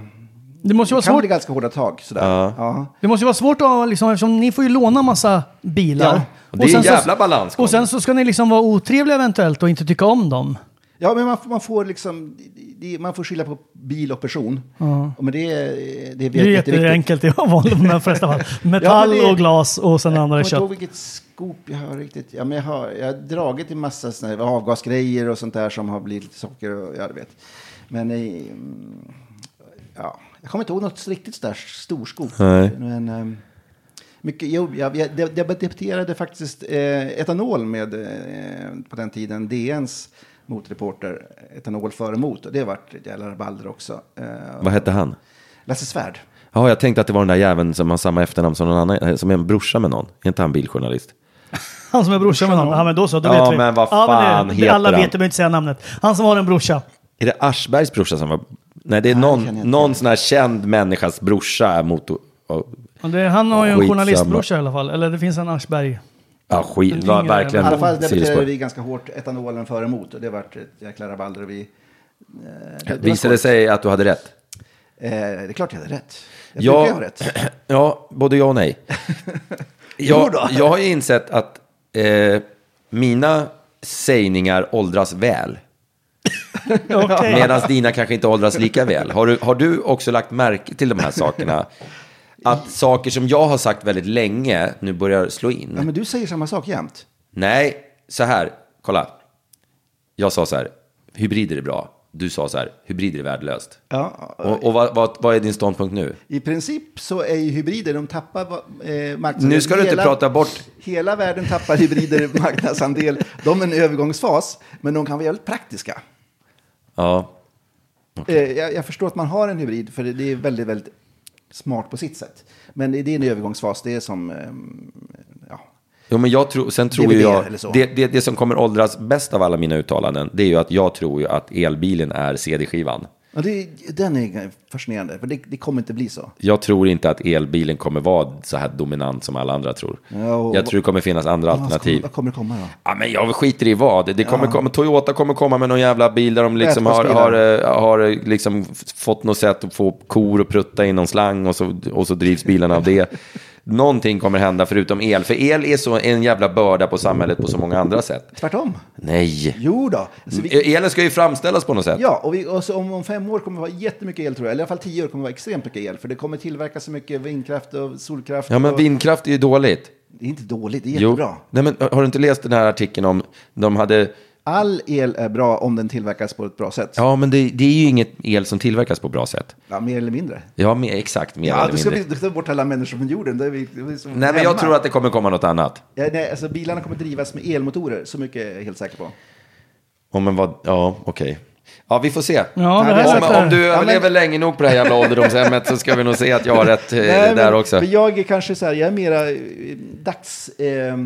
Det måste ju
det
vara
kan
svårt.
bli ganska hårda tag. Sådär. Ja.
Det måste ju vara svårt att, liksom, eftersom ni får ju låna massa bilar.
Ja.
Och det är en
så-
jävla balansgång.
Och sen så ska ni liksom vara otrevliga eventuellt och inte tycka om dem.
Ja, men man, får- man får liksom... det, man får skilja på bil och person.
Ja.
Men det, är- det är
Det är ju
jätteviktigt.
jätteenkelt i de flesta fall. Metall
det-
och glas och sen andra är
Jag kommer inte ihåg
kött.
vilket skop jag har riktigt. Ja, men jag, har, jag har dragit i massa såna här avgasgrejer och sånt där som har blivit lite socker och ja, du vet. Men eh, mm, ja, jag kommer inte ihåg något riktigt sådär storskop.
Nej.
Men, ehm, mycket, jo, jag, jag, jag debatterade faktiskt eh, etanol med eh, på den tiden DNs motreporter etanol före mot. Och det har varit ett jävla rabalder också. Eh,
Vad hette han?
Lasse Svärd.
Ja, jag tänkte att det var den där jäveln som har samma efternamn som någon annan, eh, som är en brorsa med någon. Är inte han biljournalist?
Han som är brorsa med någon. Ja men då så, då
Ja,
vet vi.
men vad
det-
fan
det,
heter
Alla
han?
vet, det behöver inte säga namnet. Han som har en brorsa.
Är det Aschbergs brorsa som var... Nej, det är
det kan jag
någon,
inte.
någon sån här känd människas brorsa är mot... och-
Och Det, han har ju en
Skitsamma.
journalistbrorsa i alla fall. Eller det finns en Aschberg.
Ja, skit.
Den
Var,
yngre-
verkligen.
I alla fall debatterade
sidospår.
vi ganska hårt etanolen före emot och det vart ett jäkla rabalder. Och vi, eh, det, det var
Visade det
svårt.
sig att du hade rätt?
Eh, det är klart jag hade rätt. Jag
Ja.
brukar ju ha rätt.
Ja, både ja och nej. jag,
då.
jag har ju insett att eh, mina sägningar åldras väl.
Okej.
Medan dina kanske inte åldras lika väl. Har du, har du också lagt märke till de här sakerna? Att saker som jag har sagt väldigt länge nu börjar slå in.
Ja, men du säger samma sak jämt.
Nej, så här, kolla. Jag sa så här, hybrider är bra. Du sa så här, hybrider är värdelöst.
Ja.
Och, och vad, vad, vad är din ståndpunkt nu?
I princip så är ju hybrider, de tappar va- eh, marknadsandel.
Nu ska du inte prata bort-
Hela världen tappar hybrider marknadsandel. De är en övergångsfas, men de kan vara jävligt praktiska.
Ja,
Eh, jag, jag förstår att man har en hybrid, för det, det är väldigt, väldigt smart på sitt sätt. Men det, det är en övergångsfas, det är som... ehm, ja.
Jo, men jag tror, sen tror ju
DVD
jag,
eller så.
det, det, det som kommer åldras bäst av alla mina uttalanden, det är ju att jag tror ju att elbilen är CD-skivan.
Ja, det, den är fascinerande, för det, det kommer inte bli så.
Jag tror inte att elbilen kommer vara så här dominant som alla andra tror.
Ja, och-
jag tror det kommer finnas andra
Vad,
alternativ.
vad kommer det komma då?
Ja, men jag skiter i vad. Det kommer, komma, Toyota kommer komma med någon jävla bil där de liksom har, har,
Vätgasbilar.
eh, har eh, liksom f- fått något sätt att få kor att prutta in någon slang och så, och så drivs bilarna av det. Någonting kommer hända förutom el, för el är så en jävla börda på samhället på så många andra sätt.
Tvärtom.
Nej.
Jo då. Så vi,
E- Elen ska ju framställas på något sätt.
ja, och, vi, och så om, om fem år kommer det vara jättemycket el tror jag. Eller i alla fall tio år kommer det vara extremt mycket el. För det kommer tillverkas så mycket vindkraft och solkraft.
Ja, men
och,
vindkraft är ju dåligt.
Det är inte dåligt, det är jättebra.
Nej, men har du inte läst den här artikeln om de hade...
All el är bra om den tillverkas på ett bra sätt. Ja,
Ja, men det, det är ju inget el som tillverkas på bra sätt.
mer eller mindre.
Ja, men, exakt. Mer
Ja,
eller
du ska,
mindre.
vi, du ska ta bort alla människor från jorden. Då är vi, då är vi som
Nej, men
hemma.
jag tror att det kommer komma något annat.
Ja, nej, alltså, bilarna kommer drivas med elmotorer, så mycket är jag helt säker på.
Ja, men vad... Ja, okej. Ja, vi får se.
Ja, det
vi har
här
Om,
sagt
lät
om du
Ja, men-
överlever länge nog på det här jävla ålderdomshemmet så ska vi nog se att jag har rätt eh,
Nej,
där
men-
också.
Men jag är kanske så här, jag är mera eh, dags... Eh,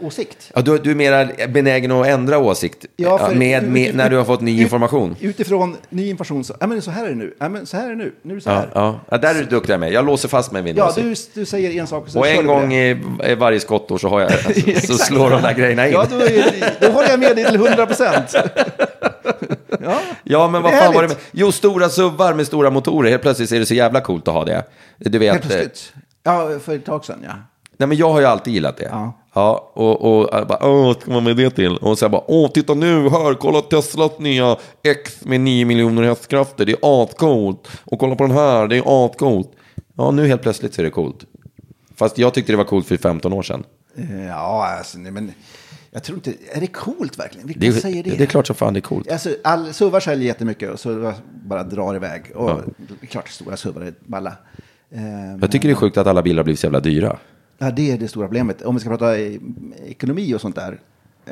åsikt.
Ja, du, du är mer benägen att ändra åsikt eh,
Ja, för-
med, med, när du har fått ny
ut-
information.
Utifrån ny information så, ja men så här är det nu, ja men så här är det nu, nu är det så
Ja,
här. Ja,
ja. ja, där är du duktig med. Jag låser fast mig vid min åsikt.
du, du säger en sak och så
Och
kör
en
du
gång
det.
i, i varje skottår så, har jag, så
Exakt.
slår de där grejerna in.
Ja, då, är, då håller jag med dig till 100 procent. Ja.
Ja, men
Det
vad
är
fan var det
härligt.
med? Jo, stora suvar med stora motorer. Helt plötsligt är det så jävla coolt att ha det. Du vet.
Helt plötsligt. Ja, för ett tag sedan ja.
eh, Nej, men jag har ju alltid gillat det.
Ja.
Ja, och, och, jag bara, åh, vad ska man med det till? Och så jag bara, åh, titta nu, här, kolla Teslas nya X med 9 miljoner hästkrafter, det är ascoolt. Och kolla på den här, det är ascoolt. Ja, nu helt plötsligt så är det coolt. Fast jag tyckte det var coolt för 15 år sedan.
Eh, Ja, alltså, nej, men jag tror inte, är det coolt verkligen? Vilka
Det,
säger det?
det är klart som fan det är coolt.
Alltså, all, suvar säljer jättemycket och suvar bara drar iväg. Och det är klart, stora suvar är balla. Eh,
Jag tycker det är sjukt att alla bilar har blivit så jävla dyra.
Ja, det är det stora problemet. Om vi ska prata eh, ekonomi och sånt där,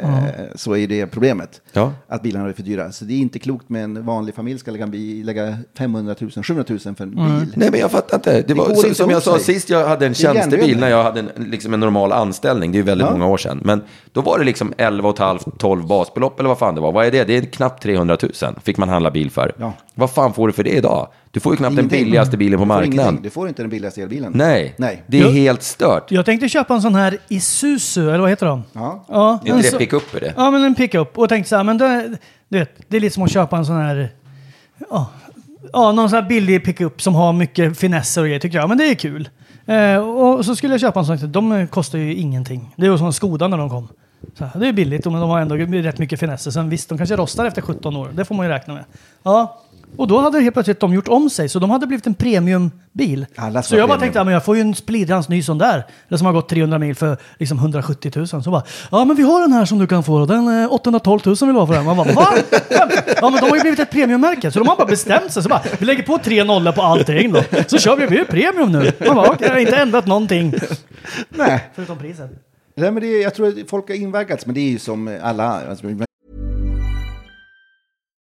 eh, så är det problemet.
Ja.
Att bilarna är för dyra. Så det är inte klokt med en vanlig familj ska lägga, en bil, lägga 500 000, 700 000 för en bil.
Nej men jag fattar inte. Det var,
går
som,
inte
som jag
ihop
sa
sig.
sist, jag hade en
Det är
tjänstebil
järnvägen.
när jag hade en, liksom en normal anställning. Det är ju väldigt
Ja.
många år sedan. Men då var det liksom 11,5-12 basbelopp eller vad fan det var. Vad är det? Det är knappt 300 000 fick man handla bil för.
Ja.
Vad fan får du för det idag? Du får ju knappt
Ingenting.
den billigaste bilen på
Du får
marknaden.
ingenting. Du får inte den billigaste elbilen.
Nej.
Nej.
det är
Jo.
helt stört.
Jag tänkte köpa en sån här Isuzu, eller vad heter de?
Ja.
Är inte
en
det
så-
pickup, är det?
Ja, men en pickup. Och tänkte så här, men det, du vet, det är lite som att köpa en sån här... Ja, ja någon sån här billig pickup som har mycket finesser och grejer. Tycker jag, men det är kul. Eh, och så skulle jag köpa en sån. här. De kostar ju ingenting. Det var som Skoda när de kom. Så här, det är billigt, men de har ändå rätt mycket finesser. Sen visst, de kanske rostar efter 17 år. Det får man ju räkna med. Ja. Och då hade helt plötsligt de gjort om sig, så de hade blivit en premiumbil.
Alla ska
så jag bara
premium.
tänkte, ja, men jag får ju en splittrans ny sån där. Eller som har gått 300 mil för liksom 170 000. Så bara, ja men vi har den här som du kan få och den eh, 812 000 vill ha för den. Man bara, va? Ja men de har ju blivit ett premiummärke. Så de har bara bestämt sig. Så bara, vi lägger på tre nollor på allting då. Så kör vi, vi är premium nu. Man bara, okej, jag har inte ändrat någonting.
Nej.
Förutom priset.
Nej, men det är, jag tror att folk har inverkats, men det är ju som alla. Alltså,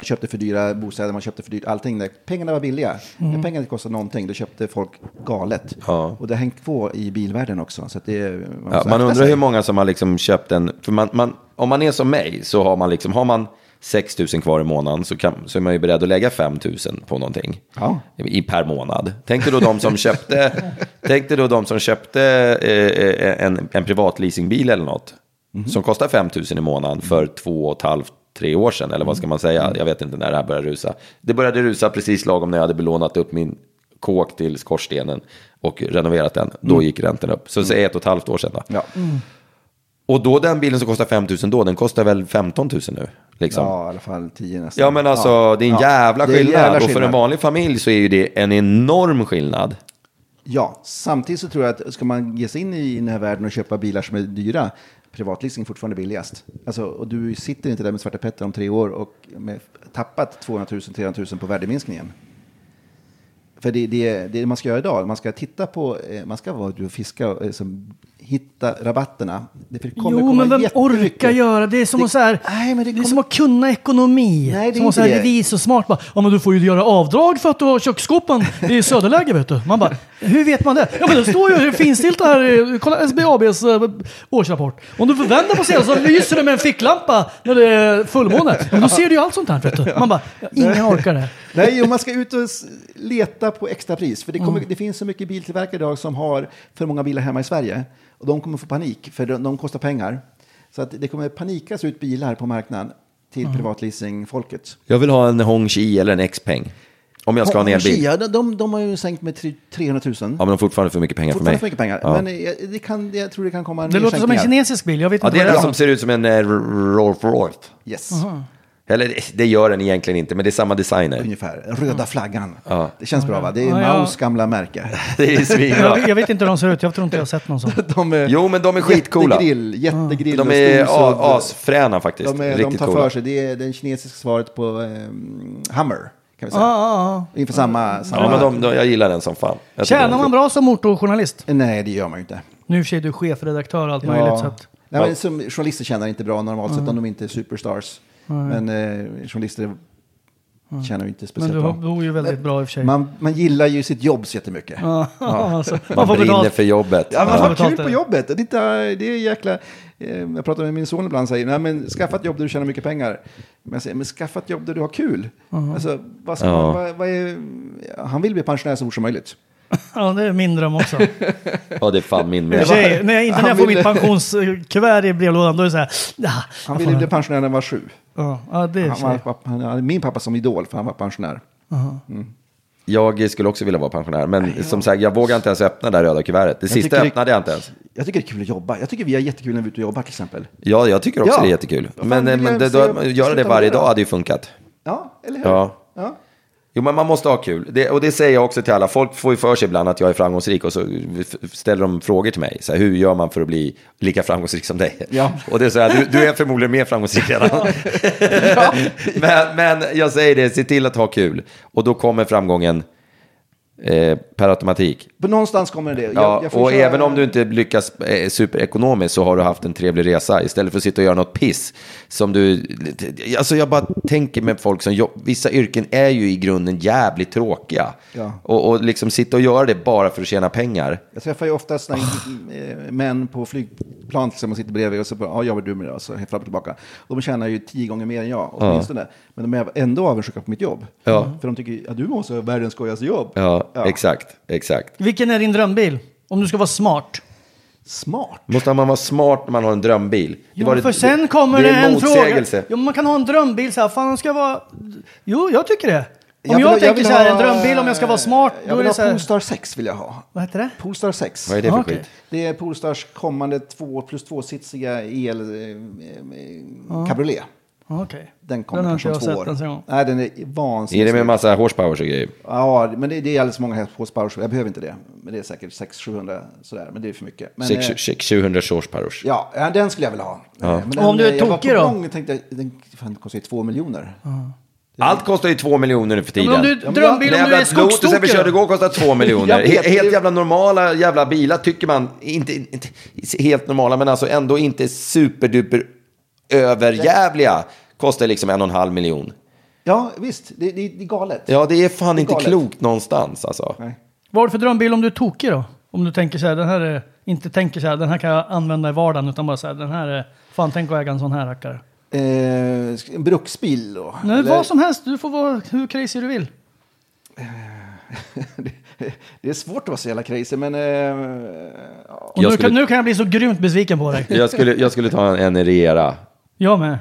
Man köpte för dyra bostäder, man köpte för dyrt allting. När pengarna var billiga, när pengarna inte kostade någonting, då köpte folk galet. Och det har hängt på i bilvärlden också. Så att det, man, måste
Ja, man
akta
undrar
sig.
hur många som har liksom köpt en... För man, man, om man är som mig så har man liksom... Har man 6 000 kvar i månaden så, kan, så är man ju beredd att lägga 5 000 på någonting
Ja.
i, per månad. Tänk dig då de som köpte, tänk dig då de som köpte eh, eh, en, en privat leasingbil eller något
Mhm.
som kostar 5 000 i månaden för
Mm.
två och ett halvt, tre år sedan. Eller vad ska man säga? Jag vet inte när det här började rusa. Det började rusa precis lagom när jag hade belånat upp min kåk till skorstenen och renoverat den. Då gick räntan upp. Så säg ett och ett halvt år sedan då.
Mm. Ja.
Och då den bilen som kostar 5 000 då, den kostar väl 15 000 nu? Liksom.
Ja, i alla fall tio nästan.
Ja men alltså
Ja.
det är en
Ja.
jävla
Det är en
skillnad.
jävla
Och för en
skillnad.
vanlig familj så är ju det en enorm skillnad.
Ja, samtidigt så tror jag att ska man ge sig in i den här världen och köpa bilar som är dyra, privatleasing är fortfarande billigast. Alltså, och du sitter inte där med Svarte Petter om tre år och med, tappat 200 000-300 000 på värdeminskningen. För det, det, det man ska göra idag, man ska titta på, eh, man ska vara ute och fiska, och, eh, som, hitta rabatterna. Det för det
Jo,
kommer komma
men vem
jättemycket.
orkar göra det? är som,
Det-
att, så här,
Nej, men
det är som att kunna ekonomi.
Nej, det är
som att
inte
så här,
det.
revisorsmart bara, ja men du får ju göra avdrag för att du har köksskåpen i söderläge vet du. Man bara, hur vet man det? Ja men det står ju finstilta här, i- kolla SBABs eh, årsrapport. Om du vänder på sidan så lyser det med en ficklampa när det är fullmåne. Men då ser du ju allt sånt här vet du. Man bara, ingen orkar det.
Nej, och man ska ut och s- leta på extrapris. För det, kommer,
Mm.
det finns så mycket biltillverkare idag som har för många bilar hemma i Sverige. Och de kommer få panik, för de, de kostar pengar. Så att det kommer panikas ut bilar på marknaden till
Mm.
privatleasingfolket.
Jag vill ha en Hong Chi eller en Xpeng. Om jag ska ha en elbil.
Kia, de, de, de har ju sänkt med tre- 300 000.
Ja men de har fortfarande för mycket pengar för mig.
Fortfarande för mycket pengar.
Ja.
Men eh, jag, det kan, jag tror det kan komma
Det
nya
låter som en
sänkningar.
kinesisk bil, jag vet
ja,
inte
det är
vad
den som ser ut som en eh, Rolls Royce.
Yes,
Eller det- det gör den egentligen inte, men det är samma designer.
ungefär. Röda flaggan. Det känns bra, va? Det är
Ja, ja.
Maus gamla märke.
Det är svinbra.
jag, jag vet inte hur de ser ut, jag tror inte jag har sett någon sån.
De är
Jo men de är skitcoola.
jättegrill, jättegrill
De
och
är
storsudd.
a- asfräna faktiskt.
De, är, de
Riktigt
tar
coola.
för sig. Det är det kinesiska svaret på ehm, Hammer. Kan vi säga.
Ja,
Ungefär samma. samma.
Ja men de, de, jag gillar den som fan. Jag tycker den
Tjänar
är
man
cool.
bra som motorjournalist?
Nej, det gör man ju inte.
Nu i och för sig är du chefredaktör och allt
Ja.
möjligt. Så att...
Nej, men som journalister tjänar inte bra normalt sett om de inte är superstars. Men eh, journalister tjänar ju inte
Men
speciellt
du
bra.
bor ju väldigt bra i och för sig.
Man, man gillar ju sitt jobb så jättemycket. Ja,
alltså,
Man
får
brinner
betalt.
för jobbet.
ja
man
men
får
vad
betalt
kul
det.
på jobbet. Det är, inte, det är jäkla... eh, Jag pratar med min son ibland och säger, nej men skaffa ett jobb där du tjänar mycket pengar. Men jag säger, men skaffa ett jobb där du har kul. Alltså, vad ska
Ja.
man, vad, vad är, han vill bli pensionär så fort som möjligt.
Ja, det är min dröm också. I
Ja det är fan min
och
med.
för sig, när jag, inte när jag
Han
får
ville-
mitt pensionskuvert i brevlådan, då är det så här... Ja,
Han
jag
ville
får-
bli pensionär när han var sju.
Ja, ja, det är
Han var,
så.
pappa- han hade min pappa som idol, för han var pensionär.
Jag skulle också vilja vara pensionär, men som sagt, jag vågar inte ens öppna det där röda kuvertet. Det
Jag
sista
tycker det-
öppnade jag inte ens.
Jag tycker det är kul att jobba. Jag tycker vi har jättekul när vi är ute och jobbar till exempel.
Ja, jag tycker också
Ja.
det är jättekul.
Vad fan,
Men, eh,
vill
men
jag
det,
se-
då, göra det
sluta
varje
med det
dag
då?
hade ju funkat.
Ja, eller hur?
Ja.
Ja.
Jo, men man måste ha kul. Det, och det säger jag också till alla. Folk får ju för sig ibland att jag är framgångsrik och så f- ställer de frågor till mig. Så här, hur gör man för att bli lika framgångsrik som dig?
Ja.
Och det är så här, du, du är förmodligen mer framgångsrik redan. men, men jag säger det, se till att ha kul. Och då kommer framgången eh, per automatik.
På någonstans kommer det. Jag,
Ja,
jag får
och
köra-
även om du inte lyckas eh, superekonomiskt så har du haft en trevlig resa istället för att sitta och göra något piss. Som du, alltså jag bara tänker med folk som jobb, vissa yrken är ju i grunden jävligt tråkiga.
Ja.
Och, och liksom sitta och göra det bara för att tjäna pengar.
Jag träffar ju ofta såna eh, män på flygplan som sitter bredvid och så bara, ja, jobbar du med det? Och så fram och tillbaka. De tjänar ju tio gånger mer än jag,
Ja.
åtminstone. Men de är ändå avundsjuka på mitt jobb.
Ja.
För de tycker, ja, du måste ha världens skojigaste jobb.
Ja, exakt, exakt.
Vilken är din drömbil? Om du ska vara smart.
Smart?
Måste man vara smart när man har en drömbil? Det
Jo,
var det-
för sen kommer det,
är
en fråga.
motsägelse.
Jo, men man kan ha en drömbil så här, fan jag ska vara... Jo, jag tycker det.
Jag
Om jag,
vill- jag
tänker
vill
så här, en
ha-
drömbil om jag ska vara smart,
Jag
då är
vill
det
ha
så här...
Polestar 6 vill jag ha.
Vad heter det?
Polestar 6.
Vad är det för Ah, okej. skit?
Det är Polestars kommande 2 plus 2-sitsiga el eh, eh,
Ja.
cabriolet.
Ah, Okej.
Den
Den
kommer
har
kanske om
inte
två
jag
år.
sett ens en gång.
Nej, den är vansinnigt
Är det med
snygg.
massa horsepowers och grejer?
Ja, men det, det är alldeles för många hästar på Sparrow. Jag behöver inte det. Men det är säkert 600-700 sådär. Men det är för mycket. Men,
Sex-
eh,
sex- 700 horsepowers.
Ja, ja, den skulle jag vilja ha.
Ja.
Eh, Men
Och om
den,
du är
eh, jag var på
tokig då?
gång och tänkte, den fan, det kostar ju två miljoner.
Mm. Allt kostar ju två miljoner nu för
Ja,
tiden.
men om du- drömbil om du är skogstokig
Lotusen vi
då?
körde igår kostar två miljoner.
Jag vet,
He- helt
det-
jävla normala jävla bilar tycker man. Inte, inte helt normala, men alltså ändå inte superduper överjävliga. Kostar liksom en och en halv miljon.
Ja, visst. Det, det, det är galet.
Ja, det är fan
Det är
inte
galet.
klokt någonstans alltså.
Vad har du för drömbil om du är tokig då? Om du tänker så här, den här är, inte tänker så här, den här kan jag använda i vardagen, utan bara så här, den här är, fan tänk att äga en sån här rackare.
Eh, sk- en bruksbil då?
Nej,
Eller- Eh,
vad som helst, du får vara hur crazy du vill.
Det är svårt att vara så jävla crazy, men... Eh, ja.
Och
Jag
nu,
skulle-
kan, nu kan jag bli så grymt besviken på dig.
Jag skulle, jag skulle ta en, en Regera.
Jag med.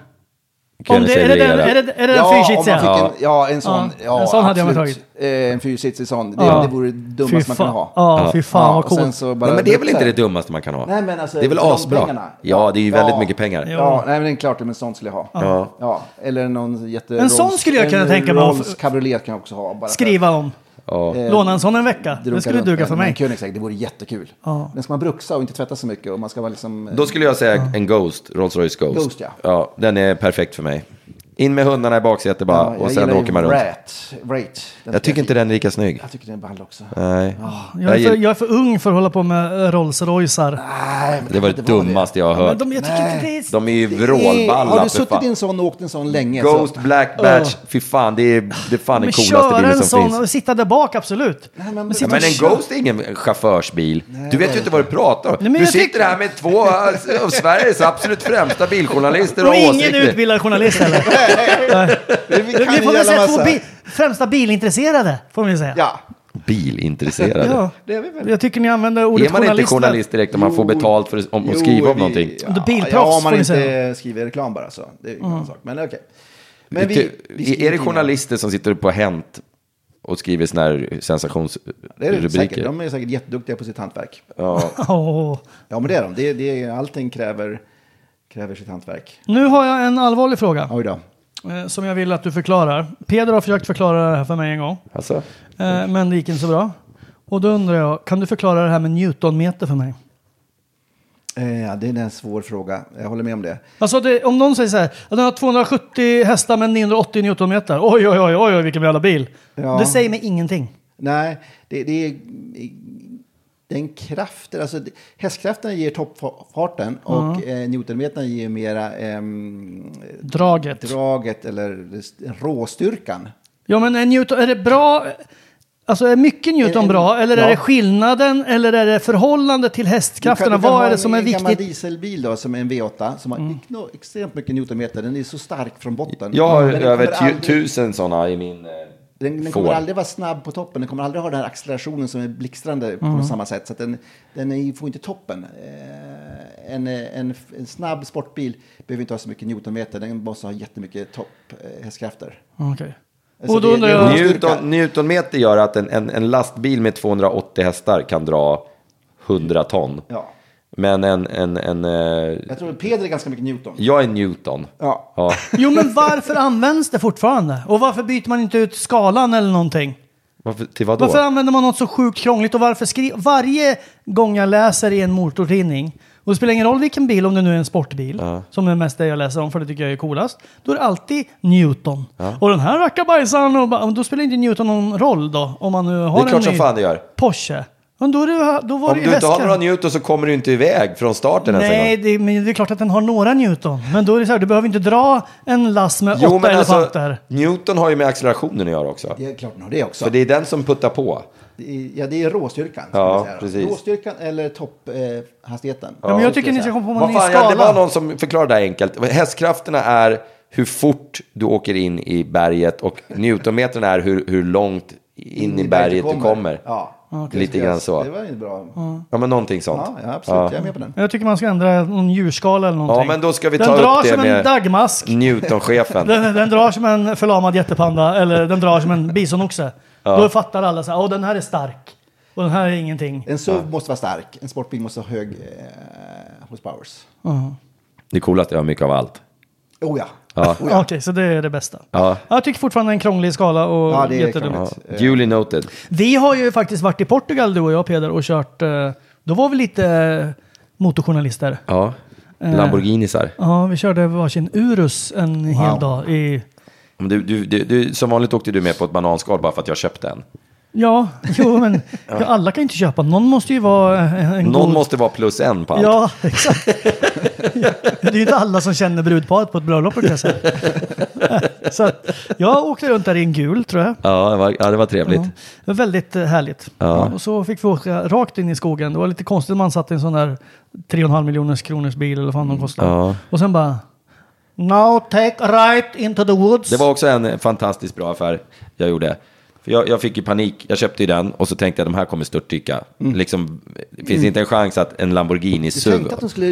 Kan
Om
jag
det,
säga
är, det den,
Regera?
är, det, är det den
Ja, om man fick
fyrsitsiga?
en, ja, en sån.
Ja,
Ja,
en sån hade jag
absolut.
tagit.
Eh, en fyrsitsig sån. Det,
Ja.
det vore det dummaste
Fy
man kan
fan.
ha.
Ja, fy fan, vad
och sen
coolt.
så bara
Nej, men det är väl inte
bruksar.
det dummaste man kan ha?
Nej, men alltså,
det är väl
de
asbra?
pengarna.
Ja, det är ju
Ja.
väldigt mycket pengar.
Ja, nej, men det är klart, men sån skulle jag ha.
Ja.
Ja, eller någon jätte...
En sån skulle jag kunna tänka mig.
Rolls cabriolet kan jag också ha. Bara för-
Skriva om.
Ja.
Eh,
Låna en sån en vecka.
drunkar
Det skulle
runt
duga
den.
för
Men
mig.
Königsegg, det vore jättekul.
Ja.
Men ska man bruxa och inte tvätta så mycket och man ska vara liksom... eh,
Då skulle jag säga en Ghost, Rolls-Royce Ghost.
Ghost, ja.
Den är perfekt för mig. In med hundarna i baksätet
ja,
bara
jag
och
gillar
sen
ju
åker man runt.
Rat. Rat. Den
Jag tycker inte den är lika snygg.
Jag tycker den är ball också.
Nej.
Jag
Jag
är, för,
gillar,
jag är för ung för att hålla på med Rolls-Roycear.
Nej, men
det var
kan
det
inte vara
dummaste jag har
Men
hört.
de, jag tycker inte det är...
De är ju
Har
vrålballa
du
för
suttit i en
fan.
sån och åkt en sån länge?
Ghost
Så,
Black Batch, fy fan det är, det är fan den
Men
coolaste
köra
bilen
en
som
sån
finns.
och sitta där bak, absolut.
nej, men,
Ja,
sitta
men
och
en
köra.
Ghost är ingen chaufförsbil. Du vet ju inte vad du pratar om.
Nej, men
Du
jag
sitter
tycker-
här med två av Sveriges absolut främsta biljournalister och
Och ingen
åsikter.
utbildad journalist heller. Nej.
vi, vi kan
Vi får
ju
väl
jävla
säga två
massa.
bi främsta bilintresserade. Får vi säga.
Ja,
Bilintresserade.
Ja.
det är vi väl.
Jag tycker ni använder ordet
Är man inte
journalist.
journalist direkt om man får betalt för om att
Jo,
skriva om
vi-
någonting?
Om du är
Ja,
bilproffs
ja, om man
får ni
inte
säga. Mm.
skriver reklam bara så. Det är ju en annan sak. Men okej. Men
Men
vi, vi skriver
är det
inga-
journalister som sitter på Hänt och skriver såna här
Det är det säkert.
sensationsrubriker?
De är säkert jätteduktiga på sitt hantverk.
Ja.
Åh.
Ja, men det är de. Det, det, är- allting kräver, kräver sitt hantverk.
Nu har jag en allvarlig fråga
Oj då.
eh, som jag vill att du förklarar. Peder har försökt förklara det här för mig en gång,
Alltså,
eh, men det gick inte så bra. Och då undrar jag, kan du förklara det här med newtonmeter för mig?
Eh, ja, det är en svår fråga. Jag håller med om det.
Alltså det, om någon säger så här, "Ja, den har 270 hästar med 980 newtonmeter. Oj, oj, oj, oj, oj vilken jävla bil.
Ja.
Det säger mig ingenting.
Nej, det, det är den kraften, alltså det- hästkraften ger toppfarten och eh, newtonmeterna ger mera ehm,
Draget.
draget eller råstyrkan.
Ja, men är, Newton, är det bra? Alltså är mycket Newton
En-
bra? Eller är
ja.
det skillnaden? Eller är det förhållande till hästkrafterna?
Du kan- du kan
Vad
ha
är det som är
en, En gammal
viktigt? Mm.
dieselbil då, som är en V8, som har ekno- extremt mycket newtonmeter. Den är så stark från botten.
jag har
Men den
över
kommer
tu-
aldrig-
tusen sådana i min... eh,
Den, den
Får.
kommer aldrig vara snabb på toppen, den kommer aldrig ha den här accelerationen som är blixtrande
Mm.
på samma sätt. Så att den, den är, får inte toppen. Eh, en, en, en snabb sportbil behöver inte ha så mycket newtonmeter, den måste ha jättemycket topp, eh, hästkrafter.
Okej. Och då undrar jag-
Newton, Newtonmeter gör att en, en, en lastbil med 280 hästar kan dra 100 ton.
Ja.
Men en... en, en eh,
Jag tror att Peder är ganska mycket Newton.
jag är Newton.
Ja.
Jo, men varför används det fortfarande? Och varför byter man inte ut skalan eller någonting?
Varför, till vad
Varför
då?
använder man något så sjukt krångligt? Och varför skri- Varje gång jag läser i en motortidning, och det spelar ingen roll vilken bil, om det nu är en sportbil, som är mest det jag läser om, för det tycker jag är coolast, då är det alltid Newton. Och den här rackabajsaren, och ba- då spelar inte Newton någon roll då, om man nu har
Det är klart
en
som
ny
fan det gör.
Porsche. Men då, är det, då var
Om
det
du inte har
hästkar.
några Newton så kommer du inte iväg från starten ens en gång.
Nej, det, men det är klart att den har några Newton. Men då är det så här, du behöver inte dra en last med
Jo,
åtta
men alltså,
elefanter.
Newton har ju med accelerationen att göra också.
Det är klart den har det också.
För det är den som puttar på.
Det är- Ja, det är råstyrkan. ska
Ja,
man säga.
precis.
Råstyrkan eller topphastigheten. Eh, hastigheten.
Ja, men jag tycker
ni ska komma på
Vad fan, ja, det var någon som förklarade det här enkelt. Hästkrafterna är hur fort du åker in i berget och Newtonmetern är hur, hur långt in i berget du kommer.
Ja.
Lite grann så.
Det var ju bra.
Ja, men någonting sånt.
Ja, ja, absolut. Jag är med på den.
Jag tycker man ska ändra någon djurskala eller någonting.
Ja, men då ska vi ta
den drar
upp det
som en
med
dagmask.
Newtonchefen.
Den, den drar som en förlamad jättepanda eller den drar som en bisonoxe.
Ja.
Då fattar alla så här, åh den här är stark och den här är ingenting.
En SUV måste vara stark. En sportbil måste ha hög eh, horsepowers.
Det coolaste är att jag har mycket av allt.
Oh ja.
Ja.
Ja. Okej, så det är det bästa.
Ja.
Jag tycker fortfarande en krånglig skala och
Ja, det är
jättedumt.
krångligt. Ja. Duly noted.
Vi har ju faktiskt varit i Portugal du och jag Peder och kört, eh, då var vi lite eh, motorjournalister.
Ja,
Eh.
Lamborghinisar.
Ja, vi körde varsin Urus en hel dag i...
Men Du, du, du, du, som vanligt åkte du med på ett bananskal bara för att jag köpte en.
Ja, jo men
Ja.
alla kan ju inte köpa. Någon måste ju vara eh, en en
Någon
god...
måste vara plus en på allt.
Ja, exakt. Det är ju inte alla som känner brudparet på ett bröllop kan jag säga. Så att jag åkte runt där i en gul tror jag.
Ja, det var, ja, det var trevligt.
Ja, det var väldigt eh, härligt.
Ja.
Och så fick vi åka rakt in i skogen. Det var lite konstigt man satt i en sån där 3,5 miljoners kronors bil eller vad fan de kostar.
Ja.
Och sen bara... Now take right into the woods.
Det var också en fantastiskt bra affär jag gjorde. För jag, jag fick ju panik, jag köpte ju den och så tänkte jag de här kommer störtdyka. Liksom, det finns
Mm.
inte en chans att en Lamborghini
Du
SUV...
tänkte att de skulle...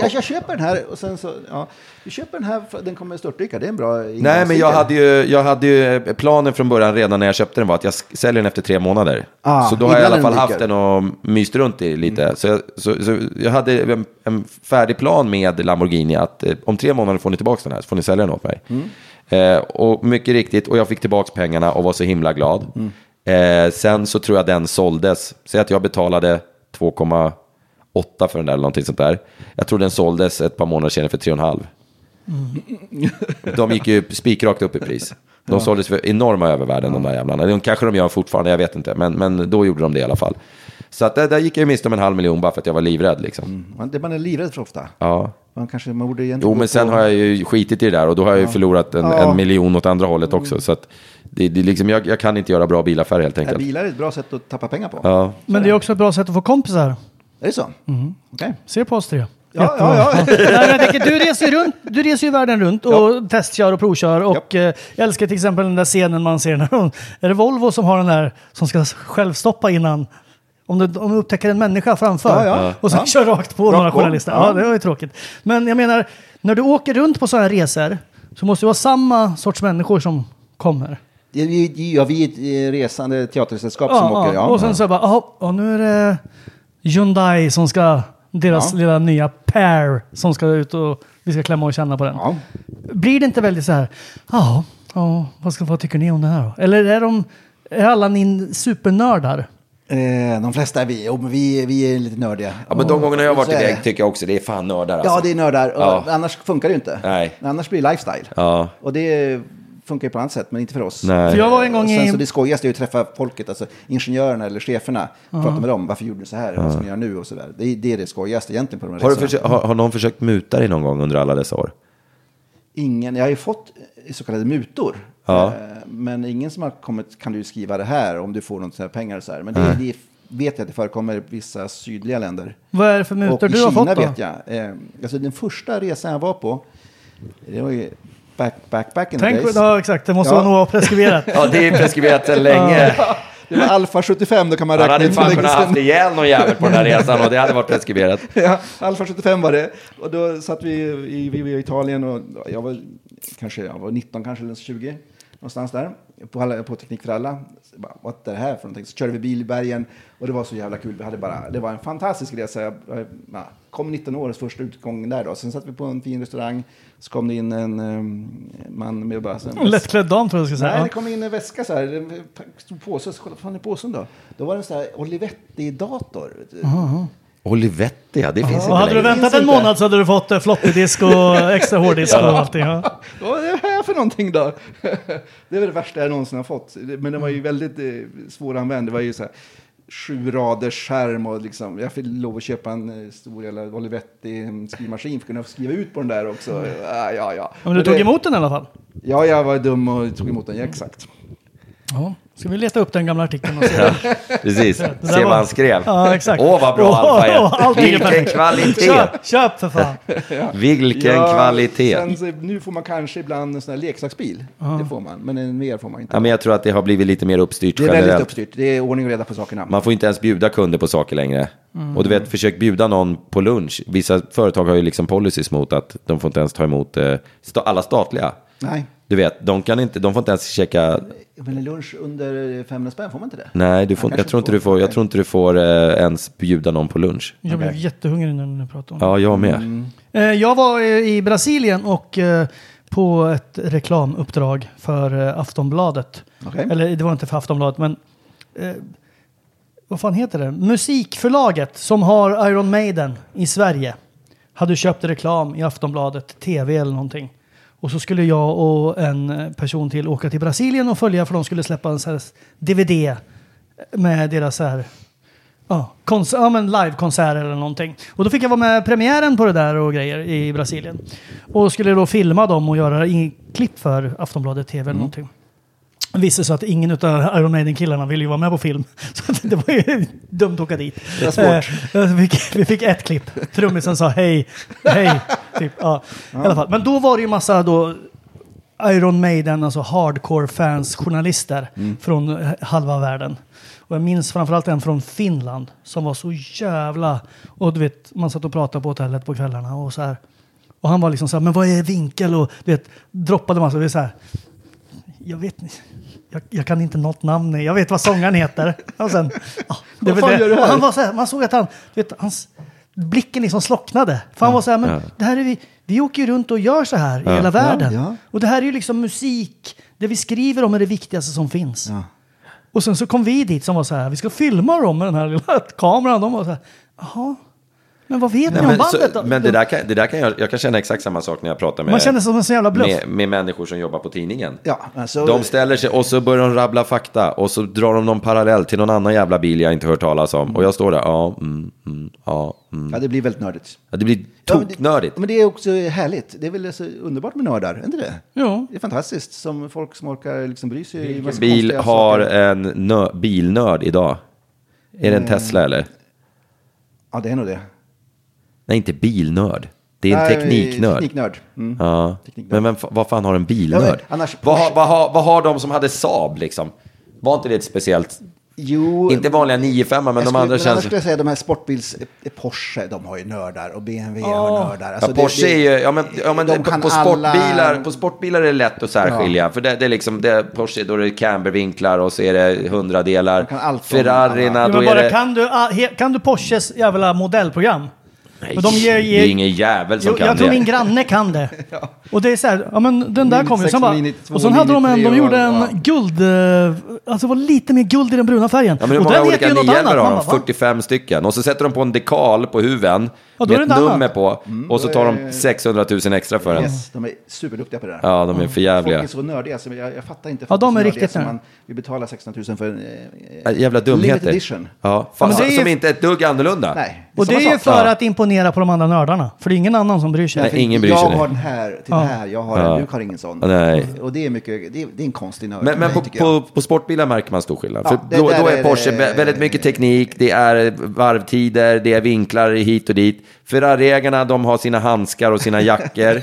Jag, jag köper den här och sen så... Ja. Du köper den här för den kommer störtdyka. Det är en bra
Nej, men
ingångsvinkel.
jag hade, ju, jag hade ju eh, planen från början redan när jag köpte den var att jag sk- säljer den efter tre månader.
Ah,
så då har jag i
innan
alla fall
den
haft
dyker. Mm.
den och myst runt i lite. Så, jag, så, så jag hade en, en färdig plan med Lamborghini att eh, om tre månader får ni tillbaka den här så får ni sälja den åt mig.
Mm.
Eh, och mycket riktigt, och jag fick tillbaka pengarna och var så himla glad.
Mm.
Eh, sen så tror jag den såldes. Säg att jag betalade 2,8 för den där eller någonting sånt där. Jag tror den såldes ett par månader senare för 3,5. De gick ju spikrakt upp i pris. De
Ja.
såldes för enorma övervärden de där jävlarna. De kanske de gör fortfarande, jag vet inte. Men, men då gjorde de det i alla fall. Så att där, där gick jag ju miste om en halv miljon bara för att jag var livrädd liksom.
Man, det man är livrädd för ofta.
Ja.
Man kanske man borde egentligen...
Jo, men sen har jag ju skitit i det där och då har jag ju
Ja.
förlorat en,
Ja. Mm.
en miljon åt andra hållet också. Så att det, det är liksom, jag, jag kan inte göra bra bilaffärer helt
Ja,
enkelt.
bilar är ett bra sätt att tappa pengar på.
Ja.
Men det är också ett bra sätt att få kompisar.
Är det så?
Mhm.
Mm.
Se på oss tre.
Ja, ja, ja.
Nej, men jag tänker, du, reser ju runt, du reser ju världen runt och testkör och provkör. Och eh, jag älskar till exempel den där scenen man ser när de, är det Volvo som har den där som ska självstoppa innan. Om du, om du upptäcker en människa framför
Ja, ja.
och sen
Ja.
kör rakt på
Rakt
några
på.
journalister.
Ja.
Ja, det var ju tråkigt. Men jag menar, när du åker runt på sådana här resor så måste det vara samma sorts människor som kommer.
Ja, vi, ja, vi är ett eh, resande teatersällskap som åker. Ja.
och sen så bara, jaha, och nu är det Hyundai som ska, deras
Ja.
lilla nya pair som ska ut och vi ska klämma och känna på den. Blir det inte väldigt så här, ja, ja, vad, ska, vad tycker ni om det här då? Eller är, de, är alla ni supernördar?
Eh, de flesta är vi. Jo, men vi, vi är lite nördiga.
Ja, men de gångerna jag har varit
Så är
iväg
det.
tycker jag också det är fan nördar alltså.
Ja, det är nördar. Och
Ja.
Annars funkar det ju inte.
Nej.
Annars blir det lifestyle.
Ja.
Och det funkar ju på annat sätt, men inte för oss.
Nej. För jag
var en gång
och sen
i-
så det skojigaste är ju att träffa folket, alltså ingenjörerna eller cheferna.
Ja.
Prata med dem, varför gjorde ni så här,
Ja.
vad ska ni göra nu och så där. Det är det, är det skojigaste egentligen på de här
Har, du
resorna.
försökt- har, har någon försökt muta dig någon gång under alla dessa år?
Ingen, jag har ju fått eh, så kallade mutor.
Ja.
Eh, Men ingen som har kommit kan du skriva det här om du får något sånt här pengar och så här. Men det,
Nej.
det vet jag att det förekommer i vissa sydliga länder.
Vad är det för mutor
och i
du har
Kina
fått då?
vet jag. Eh, Alltså den första resan jag var på, det var ju back, back, back in
Tänk,
the days.
ja, exakt, det måste
Ja.
nog vara preskriberat.
Ja, det är preskriberat sedan länge.
Ja.
Det var Alfa 75, då kan man
Han
räkna
hade
ut hur
fan
länge
kunnat haft
sedan.
ihjäl någon jävel på den här resan och det hade varit preskriberat.
Ja, Alfa 75 var det. Och då satt vi i, vi var i Italien och jag var kanske jag var 19 kanske eller 20. Någonstans där. på, alla, på Teknik för alla. Så bara, Vad är det här för någonting? Så körde vi bil i bergen och det var så jävla kul. Vi hade bara, det var en fantastisk resa. Jag, jag ja, kom 19 års första utgång där då. Sen satt vi på en fin restaurang. Så kom det in en eh, man med bara... så-
En lättklädd dam tror jag jag ska säga.
Nej,
Ja.
det kom in en väska så här. En stor påse. Så kolla, vad fan är påsen då? Då var det en sån här Olivetti-dator. vet du.
Olivetti, ja, det finns
Och
inte
hade du
längre.
väntat en månad så hade du fått eh, floppydisk och extra hårddisk och
Ja.
allting. Ja.
Vad är det här för någonting då? Det är väl det värsta jag någonsin har fått. Men den var ju
Mm.
väldigt eh, svåranvänd. Det var ju så här sju raders skärm och liksom. Jag fick lov att köpa en eh, stor jävla Olivetti skrivmaskin för att kunna skriva ut på den där också. Ja, ja, ja.
Mm. Men du
det-
tog emot den i alla fall?
Ja, jag var dum och tog emot den. Ja, exakt.
Ja. Ska vi leta upp den gamla artikeln och se?
Precis,
Det där
se
var-
vad han skrev.
Ja, exakt.
Åh, vad bra alfa
Åh,
är.
allting är
Vilken
perfekt.
kvalitet!
Köp, köp för fan.
Vilken kvalitet.
Sen, så- nu får man kanske ibland en sån här leksaksbil. Det får man, men en VR får man inte.
Ja, men jag tror att det har blivit lite mer uppstyrt
Det är väldigt
generellt.
uppstyrt. Det är ordning och reda på sakerna.
Man får inte ens bjuda kunder på saker längre.
Mm.
Och du vet, försök bjuda någon på lunch. Vissa företag har ju liksom policies mot att de får inte ens ta emot eh, sta- alla statliga.
Nej.
Du vet, de, kan inte, de får inte ens checka.
Men en lunch under 500 spänn, får man inte det?
Nej, du får,
Man
jag,
kanske
tror inte du får, jag tror inte du får eh, ens bjuda någon på lunch.
Jag blev jättehungrig nu när du pratar om det.
Ja, jag med.
Eh, Jag var eh, i Brasilien och eh, på ett reklamuppdrag för eh, Aftonbladet.
Okej.
Eller det var inte för Aftonbladet, men eh, vad fan heter det? Musikförlaget som har Iron Maiden i Sverige hade köpt reklam i Aftonbladet, tv eller någonting. Och så skulle jag och en eh, person till åka till Brasilien och följa för de skulle släppa en så här DVD med deras så här Ja, kons- ja men livekonsert eller någonting. Och då fick jag vara med i premiären på det där och grejer i Brasilien. Och skulle då filma dem och göra i- klipp för Aftonbladet TV eller någonting. Visste så att ingen av Iron Maiden-killarna ville ju vara med på film. Så att det var ju dumt att åka dit.
Det var svårt.
Eh, vi, fick, vi fick ett klipp. Trummisen sa hej, hej. Typ, ja. I alla fall. Men då var det ju massa då Iron Maiden, alltså hardcore-fans, journalister
Mm.
från eh, halva världen. Och jag minns framförallt en från Finland som var så jävla... Och du vet, man satt och pratade på hotellet på kvällarna och så här. Och han var liksom så här, men vad är vinkel? Och du vet, droppade massa. Det är så här, jag vet inte. Jag, jag kan inte något namn. nej. Jag vet vad sångaren heter. Och sen, ja, det
Vad
var
fan
det.
gör du här?
Och Han var så här, man såg att han, du vet, hans blicken liksom slocknade. För han var så här, men
Ja.
det här är vi, vi åker ju runt och gör så här i
Ja.
hela världen.
Ja, ja.
Och det här är ju liksom musik, det vi skriver om är det viktigaste som finns. Och sen så kom vi dit som var så här, vi ska filma dem med den här lilla kameran. De var så här, jaha, men vad vet
Nej,
ni om
men
bandet
så,
då?
men det där, kan, det där kan jag, jag kan känna exakt samma sak när jag pratar med,
Man känner sig som en sån jävla bluff.
med, med människor som jobbar på tidningen.
Ja, alltså,
De ställer sig och så börjar de rabbla fakta och så drar de någon parallell till någon annan jävla bil jag inte hört talas om. Och jag står där, ja, mm, mm, ja, mm.
ja, det blir väldigt nördigt.
Ja, det blir toknördigt.
Men det är också härligt. Det är väl så underbart med nördar, är inte det?
Ja.
Det är fantastiskt, som folk som orkar liksom bry sig. i massa
Bil
konstiga
har
saker.
en nö, bilnörd idag. Är det en
Eh.
Tesla eller?
Ja, det är nog det.
Nej, inte bilnörd. Det är en
Nej,
tekniknörd.
tekniknörd. Mm.
Ja. Men vem, fa- vad fan har en bilnörd?
Ja, men annars-
vad, har, vad, har, vad har de som hade Saab liksom? Var inte det ett speciellt?
Jo,
Inte vanliga 95 men
jag
de
skulle, men
andra
annars
känns...
skulle jag säga de här sportbils... eh, Porsche, de har ju nördar och BMW har nördar.
ja, Porsche
alltså, det- det-
är ju, ja men, ja, men
de
på,
kan
på,
alla-
sportbilar, på sportbilar är det lätt att särskilja. För det, det är liksom, det, Porsche, då är det cambervinklar och så är det hundradelar.
kan allt
om
Ferrarina,
Ja,
då
men
är
bara,
det...
kan, du, ah, he- kan du Porsches jävla modellprogram?
Nej,
Men de ger-
det
ger-
är ingen jävel som
Jo,
kan
jag tror
det.
min granne kan det. Och det är så här, ja men den där
Min
kom ju. Sen bara,
692,
och sen hade de en, de
93
gjorde en
och-
guld, eh, alltså det var lite mer guld i den bruna färgen.
Ja, men hur
och
många
den
olika nior
Man
har de?
bara, va?
45 stycken. Och så sätter de på en dekal på huven
Ja, då
med
är
ett
det ett
nummer
annat.
på. och så
Mm, då
tar
är-
de 600 000 extra för den.
Yes, de är superduktiga på det där.
Ja, de är för jävliga.
Folk är så nördiga, så jag, jag fattar inte.
Ja, de är
folk så nördiga
riktigt
som
nörd.
man, Vi betalar 16 000 för en... eh,
Äh, Jävla dumheter.
Limited edition.
Ja, fan,
Ja, men det är
Som
ju-
inte är ett dugg annorlunda.
Nej.
Och det
samma
är ju
sak.
för
Ja.
att imponera på de andra nördarna. För det är ingen annan som bryr sig.
Nej, ingen bryr
jag
sig nu.
har den här, till den här, jag har
Ja.
den, du har ingen sån.
Nej.
Och det är mycket, det är, det är en konstig nörd.
Men, men
Nej,
på,
tycker jag.
på, på sportbilar märker man stor skillnad.
Ja,
För
det
då,
där
då är
är
Porsche
det-
vä- väldigt mycket teknik, det är varvtider, det är vinklar hit och dit. Ferrariägarna, de har sina handskar och sina jackor.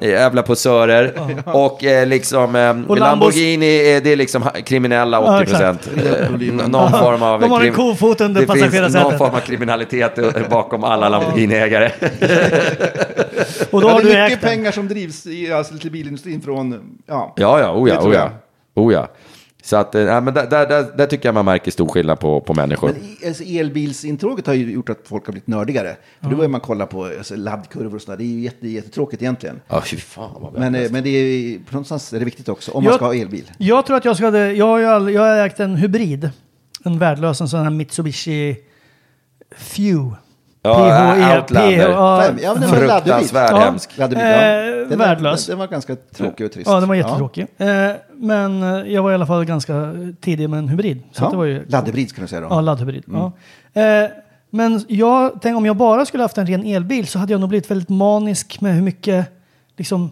Jävla posörer. Och eh, liksom eh,
Lambos-
Lamborghini, eh, det är liksom ha- kriminella 80 procent. Eh,
Ja, exakt.
någon form av...
De har en
krim-
kofot under
det finns någon
passagerarsätet.
form av kriminalitet eh, bakom alla Lamborghiniägare.
Och då har
Ja, det
du
är
ägt
mycket
den.
pengar som drivs i, alltså, till bilindustrin från... Ja.
Ja, ja, oh ja,
Det
oh
tror
ja.
jag.
Oh ja. Så att, eh, ja, men där, där, där, där tycker jag man märker stor skillnad på, på människor.
Men i- alltså, elbilsintråget har ju gjort att folk har blivit nördigare. För då börjar man kolla på alltså, laddkurvor och sådär. Det är ju jätte, jättetråkigt egentligen.
Ja, fy fan vad
Men, eh, men det är, ju- på någonstans är det viktigt också, om man
Jag-
ska ha elbil.
Jag tror att jag skulle, jag har, ju all, jag har ägt en hybrid. En värdelös, en sån här Mitsubishi Few.
Ja, äh,
PHE,
Outlander.
PHA.
Fem, ja, men den var laddhybrid. Fruktansvärd hemsk.
Laddhybrid, ja. Den var-
eh, Värdelös.
den- den var ganska tråkig och trist.
Ja, den var
Ja.
jättetråkig. Eh, men eh, jag var i alla fall ganska tidig med en hybrid. Så
Ja,
att det var ju...
laddhybrid ska du säga då.
Ja, laddhybrid.
Mm.
Ja. Eh, men jag tänk, om jag bara skulle haft en ren elbil så hade jag nog blivit väldigt manisk med hur mycket liksom,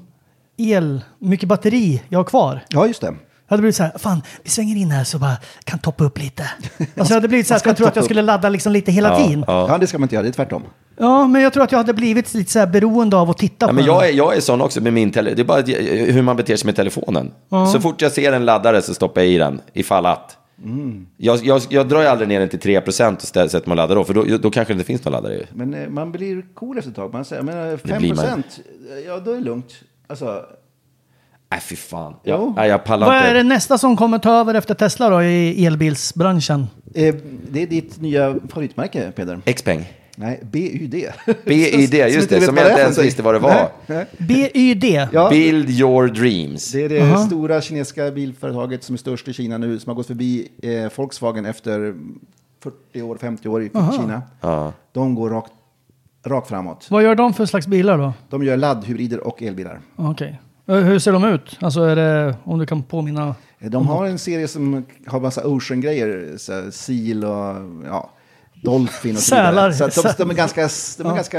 el, hur mycket batteri jag har kvar.
Ja, just det.
Jag hade blivit så här, fan, vi svänger in här så bara kan toppa upp lite. Alltså jag hade blivit så här,
Man
att
ska
jag tror att
toppa
jag
upp.
skulle ladda liksom lite hela tiden.
Ja, ja. det ska man inte göra, det är tvärtom.
Ja, men jag tror att jag hade blivit lite så här beroende av att titta
Ja,
på
men
den.
jag, är, jag är sån också med min telefon. Det är bara eh, hur man beter sig med telefonen.
Ja.
Så fort jag ser en laddare så stoppar jag i den, ifall att.
Mm.
Jag, jag, jag drar ju aldrig ner den till 3% och ställer- sätter mig och laddar då, för då, då kanske det inte finns någon laddare ju.
Men eh, man blir cool efter ett tag. Man säger, men
blir man.
5 procent, eh, ja då är det lugnt. Alltså,
Nej, fy fan.
Jo.
Jag, nej, jag pallar
Vad
inte.
är det nästa som kommer ta över efter Tesla då i elbilsbranschen?
eh, det är ditt nya favoritmärke, Peder.
Xpeng.
Nej, BUD.
BID,
Som
just
inte
det,
vet
som
vad det är
jag inte
för
ens
någonting.
visste vad det
Nej,
var.
nej.
BYD.
Ja.
Build your dreams.
Det är det
Aha.
stora kinesiska bilföretaget som är störst i Kina nu, som har gått förbi eh, Volkswagen efter 40 år, 50 år i
Aha.
Kina.
Ja.
De går rakt, rakt framåt.
Vad gör de för slags bilar då?
De gör laddhybrider och elbilar.
Okej. Eh, Hur ser de ut? Alltså är det, om du kan påminna?
Eh, De har en serie som har massa ocean-grejer, så här sil och ja, dolphin och så
Sälar.
vidare. Så att de, de är ganska, de är
Ja.
ganska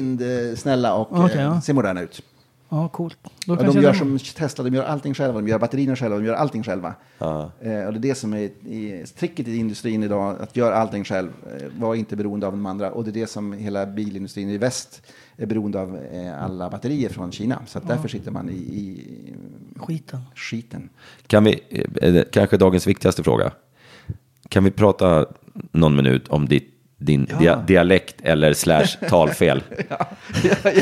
vindsnälla och
Okej,
eh,
ja.
ser moderna ut.
Ja, ah, coolt. Då
Och
kanske
de gör
de-
som Tesla, de gör allting själva, de gör batterierna själva, de gör allting själva. Eh, och det är det som är i, tricket i industrin idag, att göra allting själv, eh, var inte beroende av de andra. Och det är det som hela bilindustrin i väst är beroende av eh, alla batterier från Kina. Så att
Ja.
därför sitter man i, i
skiten.
skiten.
Kan vi, eh, eh, kanske dagens viktigaste fråga. Kan vi prata någon minut om ditt, din dia, dialekt eller slash talfel?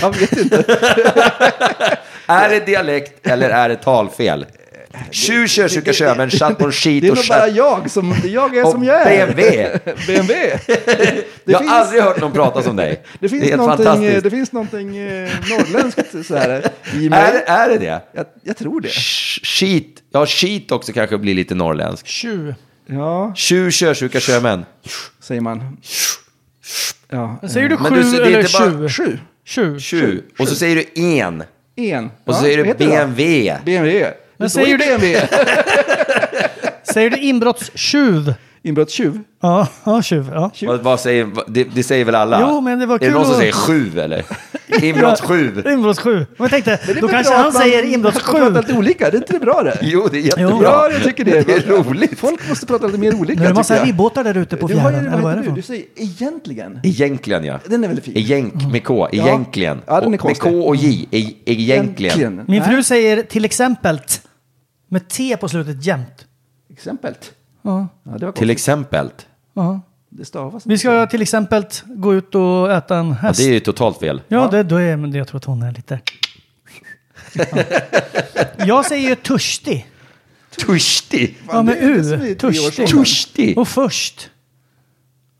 Jag vet inte.
är det dialekt eller är det talfel? Tju, tjö, tjuka, tjö, men chatt och skit
Det är
och
nog bara
chatt.
jag som, jag är
Och
som jag är.
BMW.
BMW. Det
Jag har
finns-
aldrig hört någon prata som dig.
Det finns
är helt
någonting, eh,
fantastiskt.
det finns någonting eh, norrländskt så här, i mig.
Är, det- är det det?
Jag, jag tror det.
Shit, ja shit också kanske blir lite norrländsk.
Tju.
Ja,
Tju, tjö, tjuka, tjö, men.
säger man. Ja,
Men säger du
eh,
sju
det är
eller
inte bara-
tju?
Sju.
Tju.
Tju. Och så säger du en.
En.
Och så
Ja,
säger
vad
du
heter det då?
BMW.
BMW.
Men
Men
säger du-
säger BMW?
Säger du inbrottstjuv?
Inbrottstjuv?
Ja, ja tjuv. Ja.
Vad, vad säger, vad- det, det säger väl alla?
Jo, men det var
Är
kul
det någon som
att-
säger sju eller? Inbrott sju.
Inbrottstjuv. Men jag tänkte,
är
då
väl
kanske
bra
han
att man-
säger inbrottstjuv.
Man pratar lite olika, det är inte det bra det?
Jo, det är jättebra.
Jo.
Ja, jag tycker det.
Det är roligt.
Folk måste prata lite mer olika.
Nu är det massa
tycker jag.
ribbåtar där ute på
Du, vad är
fjärran.
det,
Eller vad
vad
är
heter
det
du?
för
Du säger egentligen.
Egentligen ja.
Den är väldigt fin.
Mm.
Egentligen med K.
Ja.
Egentligen.
Ja, den är
Och med
konstig.
K och J. E egentligen.
Egentligen.
Min fru säger till exempel t- med T på slutet jämt.
Exempel.
Ja.
Ja, det var
Till
konstigt.
exempel.
Ja.
Det stavas
Vi ska till exempel t- gå ut och äta en
Ja,
häst.
det är ju totalt fel.
Ja, det, då är, men det- jag tror att hon är lite... Ja. Jag säger ju törstig.
Törstig.
Ja, med
det är inte som
U.
i treårsåldern.
Törstig.
Törstig.
Och först.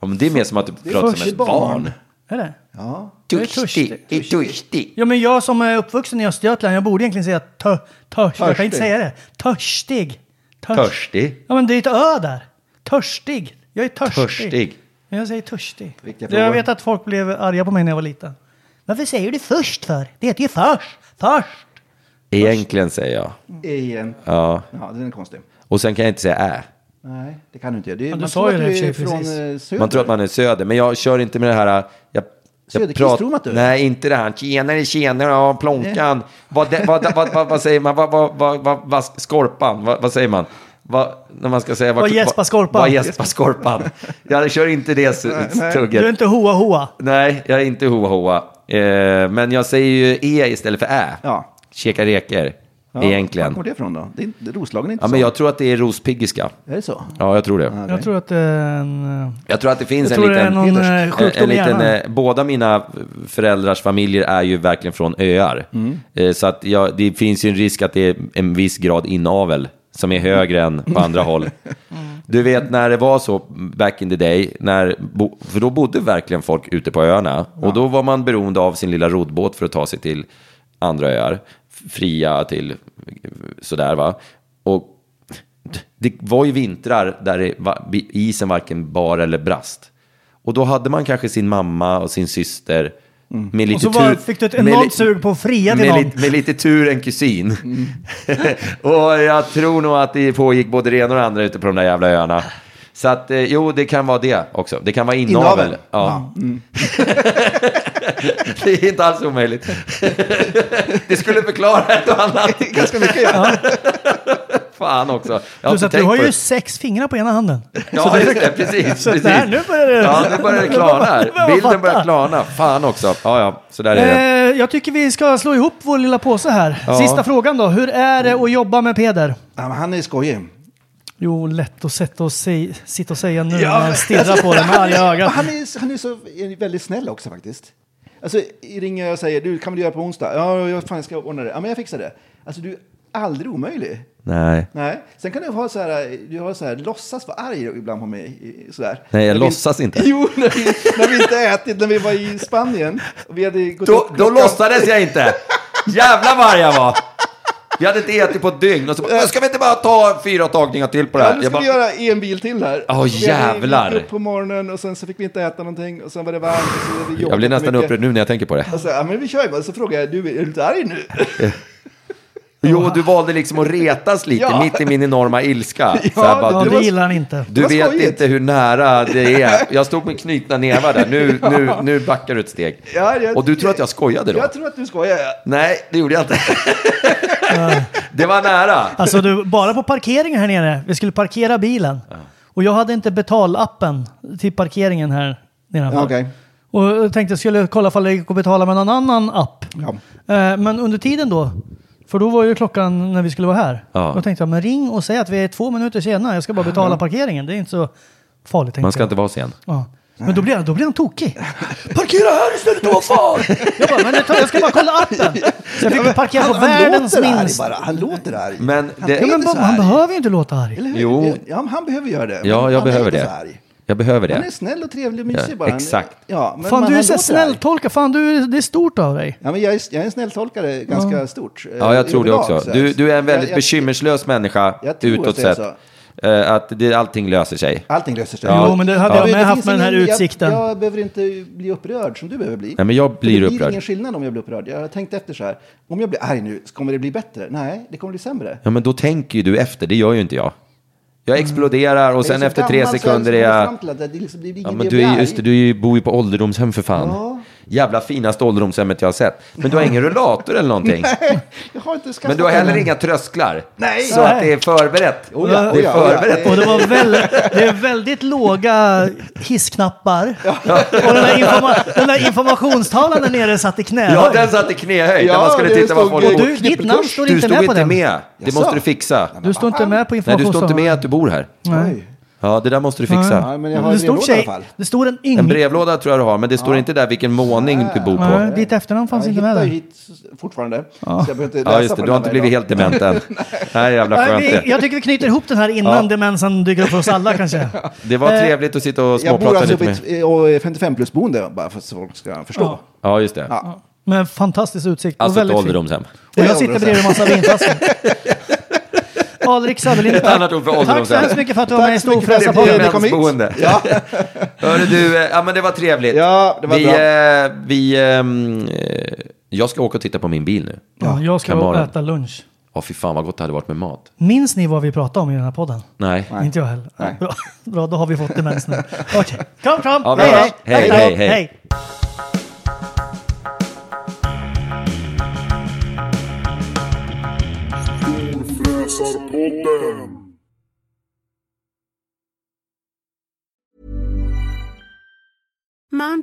Ja, men det är mer som att du pratar som
först
ett barn.
barn. Är det?
Ja.
Jag är törstig.
Törstig. Är törstig.
Ja, men jag som är uppvuxen i Östergötland, jag borde egentligen säga tö, törstig. Jag kan inte
Törstig.
säga det. Törstig. Törs-
Törstig.
Ja, men det är ett ö där. Törstig. Jag är törstig.
Törstig.
Men Jag säger törstig.
Vilka
Jag
frågor?
vet att folk blev arga på mig när jag var liten. Varför säger du först för? Det heter ju förs. Först.
Egentligen säger jag.
Igen.
Ja.
Ja, den är konstig.
Och sen kan jag inte säga ä.
Nej, det kan du inte göra. Det,
du
man
sa
tror
ju
att
det i och
du
för sig
är från
precis.
eh, söder.
Man tror att man är söder, men jag kör inte med det här... Jag, jag
Söderqvist tror man att du är.
Nej, inte det här. Tjenare, tjenare, ja, plånkan. Vad, det, vad, vad, vad, vad säger man? Vad, vad, vad, vad, vad skorpan? Vad, vad säger man? Vad, när man ska säga...
Vad gäspar skorpan?
Vad gäspar skorpan? Jag kör inte det s-
Du är
tugget.
inte hoa hoa.
Nej, jag är inte hoa hoa. Eh, men jag säger ju e istället för ä.
Ja.
Käka reker,
Ja, Var
egentligen.
kommer det ifrån då? Det är, inte- Roslagen är inte
Ja,
så.
men jag tror att det är rospiggiska.
Är det så?
Ja, jag tror det.
Ja,
Jag tror att det är en... eh,
Jag tror att det finns
Jag
en
tror det är
liten...
någon, eh,
en-
sjukdom
en
i
liten
hjärnan.
eh, båda mina föräldrars familjer är ju verkligen från öar. Eh, så att jag, det finns ju en risk att det är en viss grad inavel som är högre än på andra håll. Du vet när det var så back in the day, när, bo- för då bodde verkligen folk ute på öarna. Och då var man beroende av sin lilla roddbåt för att ta sig till andra öar. Fria till eh, sådär va. Och det var ju vintrar där det va- isen varken bar eller brast. Och då hade man kanske sin mamma och sin syster. Med lite
Mm. Och så var,
tur,
fick du ett
med li-
enormt sug på att fria till
med,
någon. Mm.
lite, med lite tur en kusin. och jag tror nog att det pågick både det ena och det andra ute på de där jävla öarna. Så att, eh, jo, det kan vara det också. Det kan vara inavel.
Inavel.
Ja.
mm.
det är inte alls omöjligt. det skulle förklara ett och annat. Ganska mycket, ja. Fan också. Jag har
Plus
inte
att du
tänkt
har
på
ju
det.
sex fingrar på ena handen. Så
Ja,
det-
just det, precis.
Så att
precis.
det här, nu börjar det...
Ja, nu börjar det klarna
Nu
här.
börjar man
Bilden
fatta.
börjar klarna. Fan också. Ja, ja, så där är det.
Eh, jag tycker vi ska slå ihop vår lilla påse här.
Ja.
Sista frågan då. Hur är det att jobba med Peder?
Ja, men han är skojig.
Jo, lätt att sätta och säg, sitta och säga nu
Ja,
när
men-
han stirrar på den med
Han är-
arga ögat.
Han är, han är så är väldigt snäll också faktiskt. Alltså, ringer jag och säger du kan väl göra på onsdag? Ja, jag, fan, jag ska ordna det. Ja, men jag fixar det. Alltså, du är aldrig omöjlig.
Nej.
Nej. Sen kan du ha så här, du har så här, låtsas vara arg ibland på mig. i- Så där.
Nej, jag
När vi-
låtsas inte.
Jo, när vi, när vi inte ätit, när vi var i Spanien. Och vi hade gått
Då,
upp
då
klockan-
låtsades jag inte. Jävlar vad jag var. Vi hade inte ätit på ett dygn och så bara, "Äh, ska vi inte bara ta fyra tagningar till på det
Ja,
här?
nu
Jag
ska vi
bara,
göra en bil till här.
Åh,
Och vi hade- vi gick
jävlar.
upp på morgonen och sen så fick vi inte äta någonting och sen var det varmt. Och så hade vi
jag blir
jobbat
nästan
mycket.
upprörd nu när jag tänker på det.
Och så, ja, men vi kör ju bara. Så frågar jag, du, är du inte arg nu?
Jo, du valde liksom att retas lite
Ja.
mitt i min enorma ilska.
Ja,
Så jag bara,
Ja,
du-
det gillar han inte.
Du
Vad
vet
skojigt.
inte hur nära det är. Jag stod med knutna nävar där. Nu, nu, nu backar du ett steg.
Ja, jag-
Och du tror att jag skojade då?
Jag tror att du skojar. ja.
Nej, det gjorde jag inte. Det var nära.
Alltså du, bara på parkeringen här nere. Vi skulle parkera bilen. Och jag hade inte betalappen till parkeringen här nedanför.
Ja, okej.
Och jag tänkte jag skulle kolla ifall det gick att betala med någon annan app.
Ja.
Eh, Men under tiden då, för då var ju klockan när vi skulle vara här.
Ja.
Då tänkte jag, men ring och säg att vi är två minuter sena. Jag ska bara betala parkeringen. Det är inte så farligt. tänkte
Man ska
jag.
inte vara sen.
Ja. Men då blir, han, då blir han tokig.
Parkera här istället, vad fan!
Jag bara, men jag, tar, jag ska bara kolla appen. Så jag fick parkera på
Han, han
världens
låter arg
minst.
bara. Han låter arg.
Men
Han
det-
är
Ja, men
inte så
han
arg.
behöver ju inte låta arg.
Eller hur?
Jo.
Ja, men han behöver göra det.
Ja,
Men
jag
han är
behöver
inte
det.
så arg.
Jag behöver
Han
det.
är snäll och trevlig och
Ja,
mysig bara. Han-
exakt.
Ja, men
Fan,
man-
du är
han
så
låter arg.
snälltolka. Fan, du, det är stort av dig.
Ja, men jag, är, jag är en snälltolkare ganska stort. eh,
Ja, jag tror det
överlag,
också.
så här.
Du, du är en väldigt
Jag- jag-
bekymmerslös människa
Jag tror
utåt
att det är
sett. Eh, Att det, allting löser sig.
Allting löser sig.
Ja. Jo,
men det hade jag
Det
med
finns
haft med den här
ingen-
utsikten.
Jag, jag behöver inte bli upprörd som du behöver bli.
Nej, men jag
För
blir
det blir
upprörd.
ingen skillnad om jag blir upprörd. Jag har tänkt efter så här. Om jag blir arg nu, kommer det bli bättre? Nej, det kommer bli sämre.
Ja, men då tänker ju du efter. Det gör ju inte jag. Jag exploderar och
Jag Mm. är
sen
så
efter tre
gammal så
sekunder är
jag... har kommit
jag...
fram till att Det liksom, det är ingen
Ja,
idé
men
att
du,
bli
är,
arg.
just det, du är ju- bor ju på ålderdomshem för fan.
Ja.
Jävla finaste ålderdomshemmet jag har sett. Men du har ingen rullator eller någonting.
Nej, jag har inte skaffat
Men du har heller
den.
inga trösklar.
Nej.
Så att det är förberett.
Oh ja,
det
oh
är
ja, oh ja.
förberett.
Och det, var väldigt, det är väldigt låga hissknappar. Och den där, informa- den där informationstavlan där nere satt i knä.
Ja, den satt i knähöjd.
Ja,
där man skulle
det
titta vad
stod,
folk...
eh,
Du, ditt namn står
Du
inte med
stod
på
inte
den.
med. Det
Jaså?
måste du fixa.
Du står inte med på
Nej, du står inte
informationstavlan.
med att du bor här.
Nej.
Ja, det där måste du
Ja,
fixa.
men jag har
Det
en
stod,
brevlåda i alla
tjej,
fall.
det stod en
En
yngling.
brevlåda tror jag du har, men det står inte där vilken våning du bor
Nej,
på.
ditt efternamn fanns
jag
inte med
hittar ju
där.
hit fortfarande. Så jag behöver inte läsa
Ja, just det.
på
Du har
den
inte
här
blivit
idag.
helt dement än. Nej, jävla
Nej,
skönt
vi-
det.
Jag tycker vi knyter ihop den här innan
Ja.
demensen dyker upp för oss alla kanske.
Det var
Eh,
trevligt att sitta och
Jag bor
småprata
alltså
lite
på
med.
ett 55-plus-boende, bara för att folk ska förstå.
Ja.
Ja, just det.
Ja.
Med fantastisk utsikt.
Alltså
och
ett
väldigt fint.
ålderdomshem.
Och jag sitter bredvid en massa vinflaskor. Alrik Söderlind,
Ett annat ord för
tack så
ålderdomshem.
hemskt mycket för att du var med i
Det är
Storfräsarpodden.
kom hit.
demensboende.
Ja.
Hörru du, eh, ja men det var trevligt.
Ja, det var
vi,
bra.
eh, vi, ehm, eh, jag ska åka och titta på min bil nu.
Ja, jag ska
Kamaren.
äta lunch.
Ja, fy fan vad gott det hade varit med mat.
Minns ni vad vi pratade om i den här podden?
Nej.
Inte jag heller.
Nej.
Bra, bra, då har vi fått demens nu. Okej, kom fram!
Ja, vi
hej,
hörs.
hej,
Hej,
Tack,
hej, hej.
Mom Mom